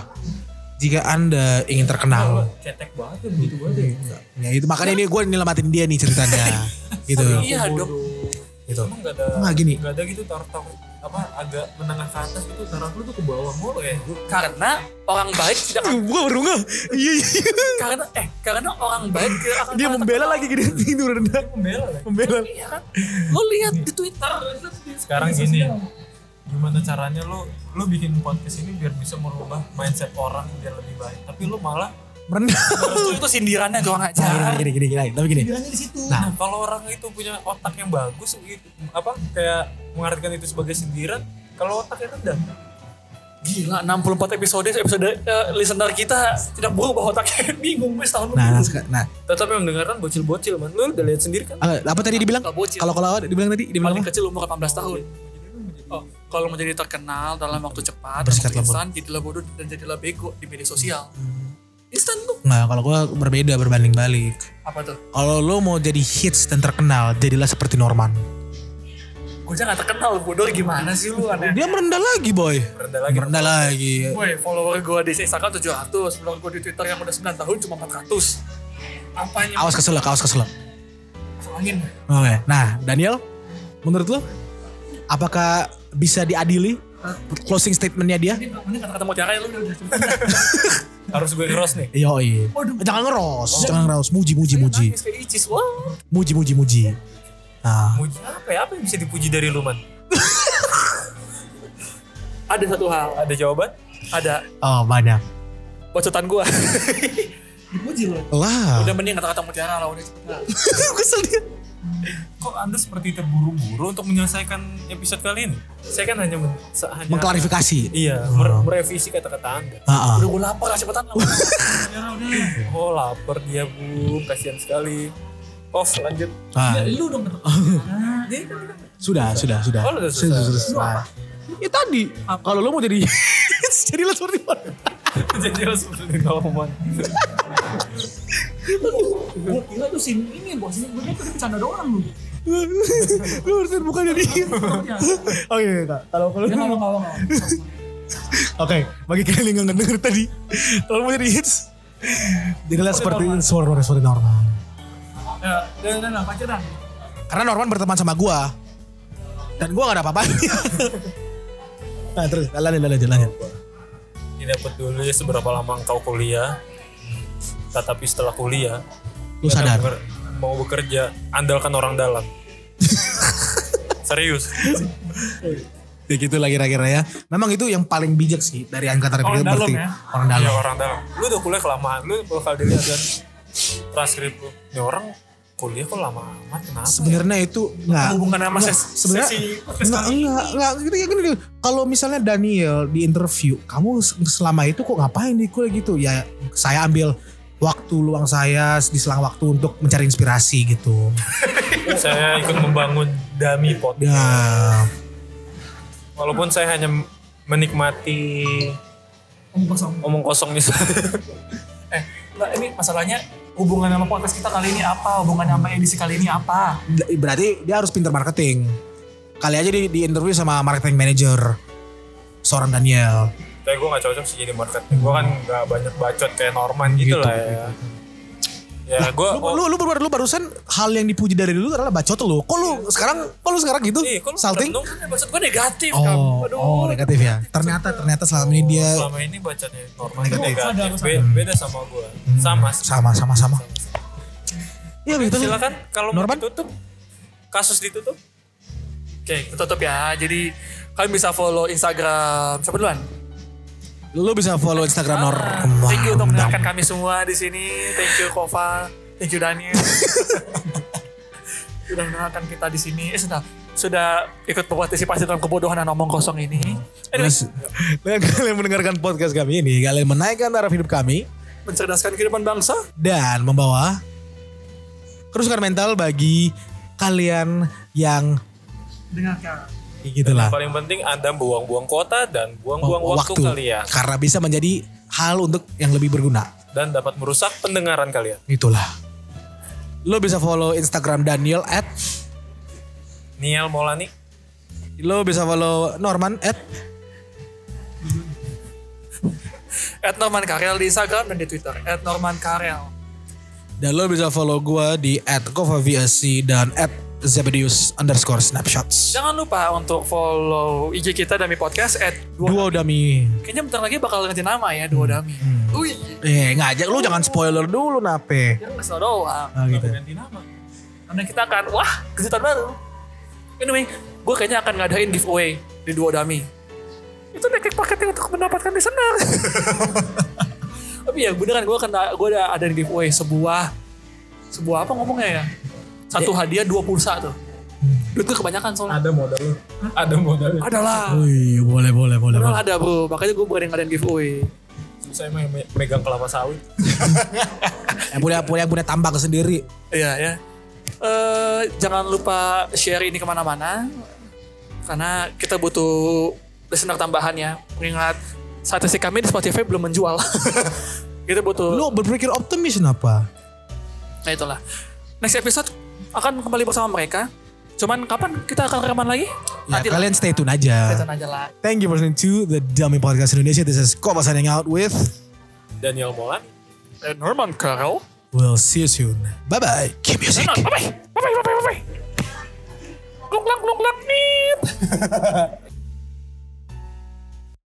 S1: Jika Anda ingin terkenal,
S3: Cetek banget ya begitu banget ya.
S1: Ya itu makanya ini gue nyelamatin dia nih ceritanya. gitu.
S2: Iya dong.
S1: Gitu.
S3: Emang gak ada.
S1: Enggak gini.
S3: Gak ada gitu taraf-taraf apa agak menengah ke atas gitu taraf lu tuh ke bawah mulu ya.
S2: Karena orang baik tidak
S1: Gue baru nggak. Iya iya.
S2: karena eh karena orang baik tidak akan
S1: Dia
S2: pernah
S1: membela lagi gini tidur rendah.
S3: Pembela lagi.
S1: Membela.
S2: terkenal. Iya kan? Lo lihat di Twitter.
S3: Sekarang gini. Gimana caranya lu lu bikin podcast ini biar bisa merubah mindset orang biar lebih baik. Tapi lu malah
S1: Merendah.
S2: Itu, itu sindirannya kurang ajar.
S1: Nah, Gini gini gini gini. Tapi gini.
S3: Nah, kalau orang itu punya otak yang bagus, gitu, apa kayak mengartikan itu sebagai sindiran, kalau otaknya rendah,
S2: Gila, 64 episode episode eh, listener kita tidak berubah otaknya bingung wes
S1: Nah,
S2: tahun
S1: nah,
S2: lalu.
S1: seka- nah
S3: tetap yang mendengarkan bocil-bocil, man. Lu udah lihat sendiri kan?
S1: eh, apa tadi dibilang?
S2: Nggak bocil.
S1: Kalau kalau dibilang tadi dibilang
S2: paling
S1: apa?
S2: kecil umur 18 tahun. Oh, kalau menjadi terkenal dalam waktu cepat, dalam
S1: Bersikat
S2: waktu
S1: lembut.
S2: instan, jadilah bodoh dan jadilah bego di media sosial. Hmm. Instan tuh.
S1: Nah kalau gue berbeda berbanding balik.
S2: Apa tuh?
S1: Kalau lo mau jadi hits dan terkenal, jadilah seperti Norman.
S2: Gue aja gak terkenal, bodor gimana sih lu aneh.
S1: Dia merendah lagi boy.
S3: Merendah lagi.
S1: Merendah lagi.
S2: Woi, follower gue di Instagram 700, follower gue di Twitter yang udah 9 tahun cuma 400. Apanya?
S1: Awas keselak, awas keselak.
S2: Masuk angin.
S1: Oke. Nah Daniel, menurut lo apakah bisa diadili closing statementnya dia?
S2: Ini ini kata-kata mau cerai lu udah udah.
S3: Harus gue cross nih.
S1: Yoi. Jangan ngeros, jangan ngeros. Muji, muji, muji.
S2: Nangis kayak Icis. Wah,
S1: Muji, muji, muji. Nah,
S3: Muji apa ya? Apa yang bisa dipuji dari lu, Man?
S2: ada satu hal.
S3: Ada jawaban?
S2: Ada
S1: oh banyak.
S2: bocotan gue.
S4: Dipuji loh.
S1: Lah.
S2: udah mending kata-kata mau cerai lah udah cepetan.
S1: Kesel dia.
S3: Kok Anda seperti terburu-buru untuk menyelesaikan episode kali ini? Saya kan hanya, men- se- hanya
S1: Mengklarifikasi. Ah,
S3: Iya, mer- merevisi kata-kata Anda.
S1: Heeh.
S2: Udah gue lapar lah cepetan lah.
S3: Oh, lapar dia, Bu. Kasihan sekali. Off, lanjut.
S1: Ah,
S4: Lu dong Jadi kan
S1: sudah, sudah, sudah.
S3: Oh, udah selesai.
S1: Ya tadi, kalau lo mau jadi jadilah seperti Norman.
S3: Jadi harus beli Norman.
S4: Gua kira tuh si ini bosnya gue tuh bercanda doang lu.
S1: Lu harusnya bukan jadi. Oke, Kak. Iya. Kalau kalau Iya,
S4: Ya kalau kalau
S1: Oke, bagi kalian yang nggak denger tadi, kalau mau jadi hits, jadilah seperti suara suara seperti Norman.
S4: Ya, dan dan apa aja dah.
S1: Karena Norman berteman sama gua dan gua nggak ada apa-apanya. nah terus, lanjut, lanjut, lanjut.
S3: Tidak peduli seberapa lama engkau kuliah, tetapi setelah kuliah,
S1: Lu sadar.
S3: Ber- mau bekerja, andalkan orang dalam. Serius.
S1: Ya gitu lah kira-kira ya. Memang itu yang paling bijak sih dari angkatan kita
S2: Orang dalam
S1: berarti
S2: ya.
S1: orang dalam.
S3: Iya orang dalam. Lu udah kuliah kelamaan, lu bakal dilihat kan transkrip lu. Ini orang kuliah kok lama amat, kenapa?
S1: Sebenarnya itu nggak
S2: Hubungan
S3: Nah,
S2: sama
S1: nggak,
S2: ses
S1: sebenarnya nggak nggak nggak gitu ya gini deh. Kalau misalnya Daniel di interview, kamu se- selama itu kok ngapain di kuliah gitu? Ya saya ambil waktu luang saya di selang waktu untuk mencari inspirasi gitu.
S3: Saya ikut membangun dummy pot.
S1: Ya,
S3: Walaupun saya hanya menikmati
S4: Om kosong.
S3: omong kosong nih.
S2: Eh, enggak ini masalahnya hubungan sama podcast kita kali ini apa? Hubungan sama edisi kali ini apa?
S1: d- berarti dia harus pintar marketing. Kali aja di, di interview sama marketing manager seorang Daniel.
S3: Tapi gue gak cocok sih jadi marketing. Gue kan gak banyak bacot kayak Norman
S1: Gitu,
S3: gitu, lah ya. Ya gue,
S1: lu, lu, lu, baru- lu barusan hal yang dipuji dari dulu adalah bacot lu. Kok lu sekarang kok lu sekarang gitu?
S3: Ih, kok lu
S1: Salting?
S3: merenung?
S2: Maksud gue negatif kan.
S1: Oh, oh negatif ya. Ternyata ternyata selama ini dia
S3: Selama ini bacotnya Norman
S1: Eh. Negatif.
S3: negatif. Be- beda sama gue.
S1: Hmm.
S3: Sama. sih.
S1: sama sama sama. Iya
S2: Eh,
S1: begitu.
S3: Silakan kalau mau
S1: Norman?
S3: ditutup. Kasus ditutup.
S2: Oke, kita tutup ya. Jadi kalian bisa follow Instagram siapa duluan?
S1: Lu bisa follow Instagram Nor.
S2: Ah, Thank you untuk mendengarkan kami semua di sini. Thank you Kova, thank you Daniel. sudah mendengarkan kita di sini. Eh, sudah sudah ikut berpartisipasi dalam kebodohan dan omong kosong ini.
S1: Hmm.
S2: Anyway,
S1: Terus, dengan kalian mendengarkan podcast kami ini, kalian menaikkan taraf hidup kami
S2: mencerdaskan kehidupan bangsa.
S1: dan membawa kerusakan mental bagi kalian yang
S4: Dengarkan.
S1: gitulah.
S3: Paling penting Anda buang-buang kota dan buang-buang waktu, kalian
S1: Oh, karena bisa menjadi hal untuk yang lebih berguna.
S3: dan dapat merusak pendengaran kalian.
S1: Itulah. Lo bisa follow Instagram Daniel at.
S3: Niel Maulani,
S1: Lo bisa follow Norman at.
S2: At Norman Karel di Instagram dan di Twitter. At Norman Karel.
S1: Dan lo bisa follow gue di at Kovaviasi dan at Zebedius underscore snapshots.
S2: Jangan lupa untuk follow IG kita Dami Podcast at dua.
S1: Duo Dami.
S2: Kayaknya bentar lagi bakal ganti nama ya Duo Dami. Wih,
S1: Eh ngajak lo jangan spoiler dulu nape.
S2: jangan kesel doang.
S1: Nah, gitu.
S3: ganti nama.
S2: Karena kita akan, wah kejutan baru. Anyway, gue kayaknya akan ngadain giveaway di Duo Dami. Itu nekek paketnya untuk mendapatkan listener. Tapi ya beneran gue akan, gue ada ada giveaway sebuah, sebuah apa ngomongnya ya? Hmm. Satu hadiah dua pulsa tuh. Duit gue kebanyakan soalnya.
S3: Ada modal. Ada modal.
S2: Adalah.
S1: Oh iya boleh boleh boleh.
S2: Padahal
S1: boleh.
S2: ada bro, makanya gue bukan yang ngadain giveaway.
S3: Saya me- me- megang kelapa sawit.
S1: Yang punya punya punya tambak sendiri.
S2: Iya ya. Eh jangan lupa share ini kemana-mana karena kita butuh listener tambahan ya. Mengingat statistik kami di Spotify belum menjual. Kita butuh.
S1: Lu berpikir optimis kenapa?
S2: Nah itulah. Next episode akan kembali bersama mereka. Cuman kapan kita akan rekaman lagi?
S1: Ya,
S2: Nanti
S1: kalian stay tune aja.
S2: lah. aja lah.
S1: Thank you for listening to the Dummy Podcast Indonesia. This is Koba signing out with.
S3: Daniel Molan
S2: And Norman Carl.
S1: We'll see you soon. Bye bye. Keep music.
S2: Bye bye bye bye bye bye. Gluk gluk gluk gluk, nit.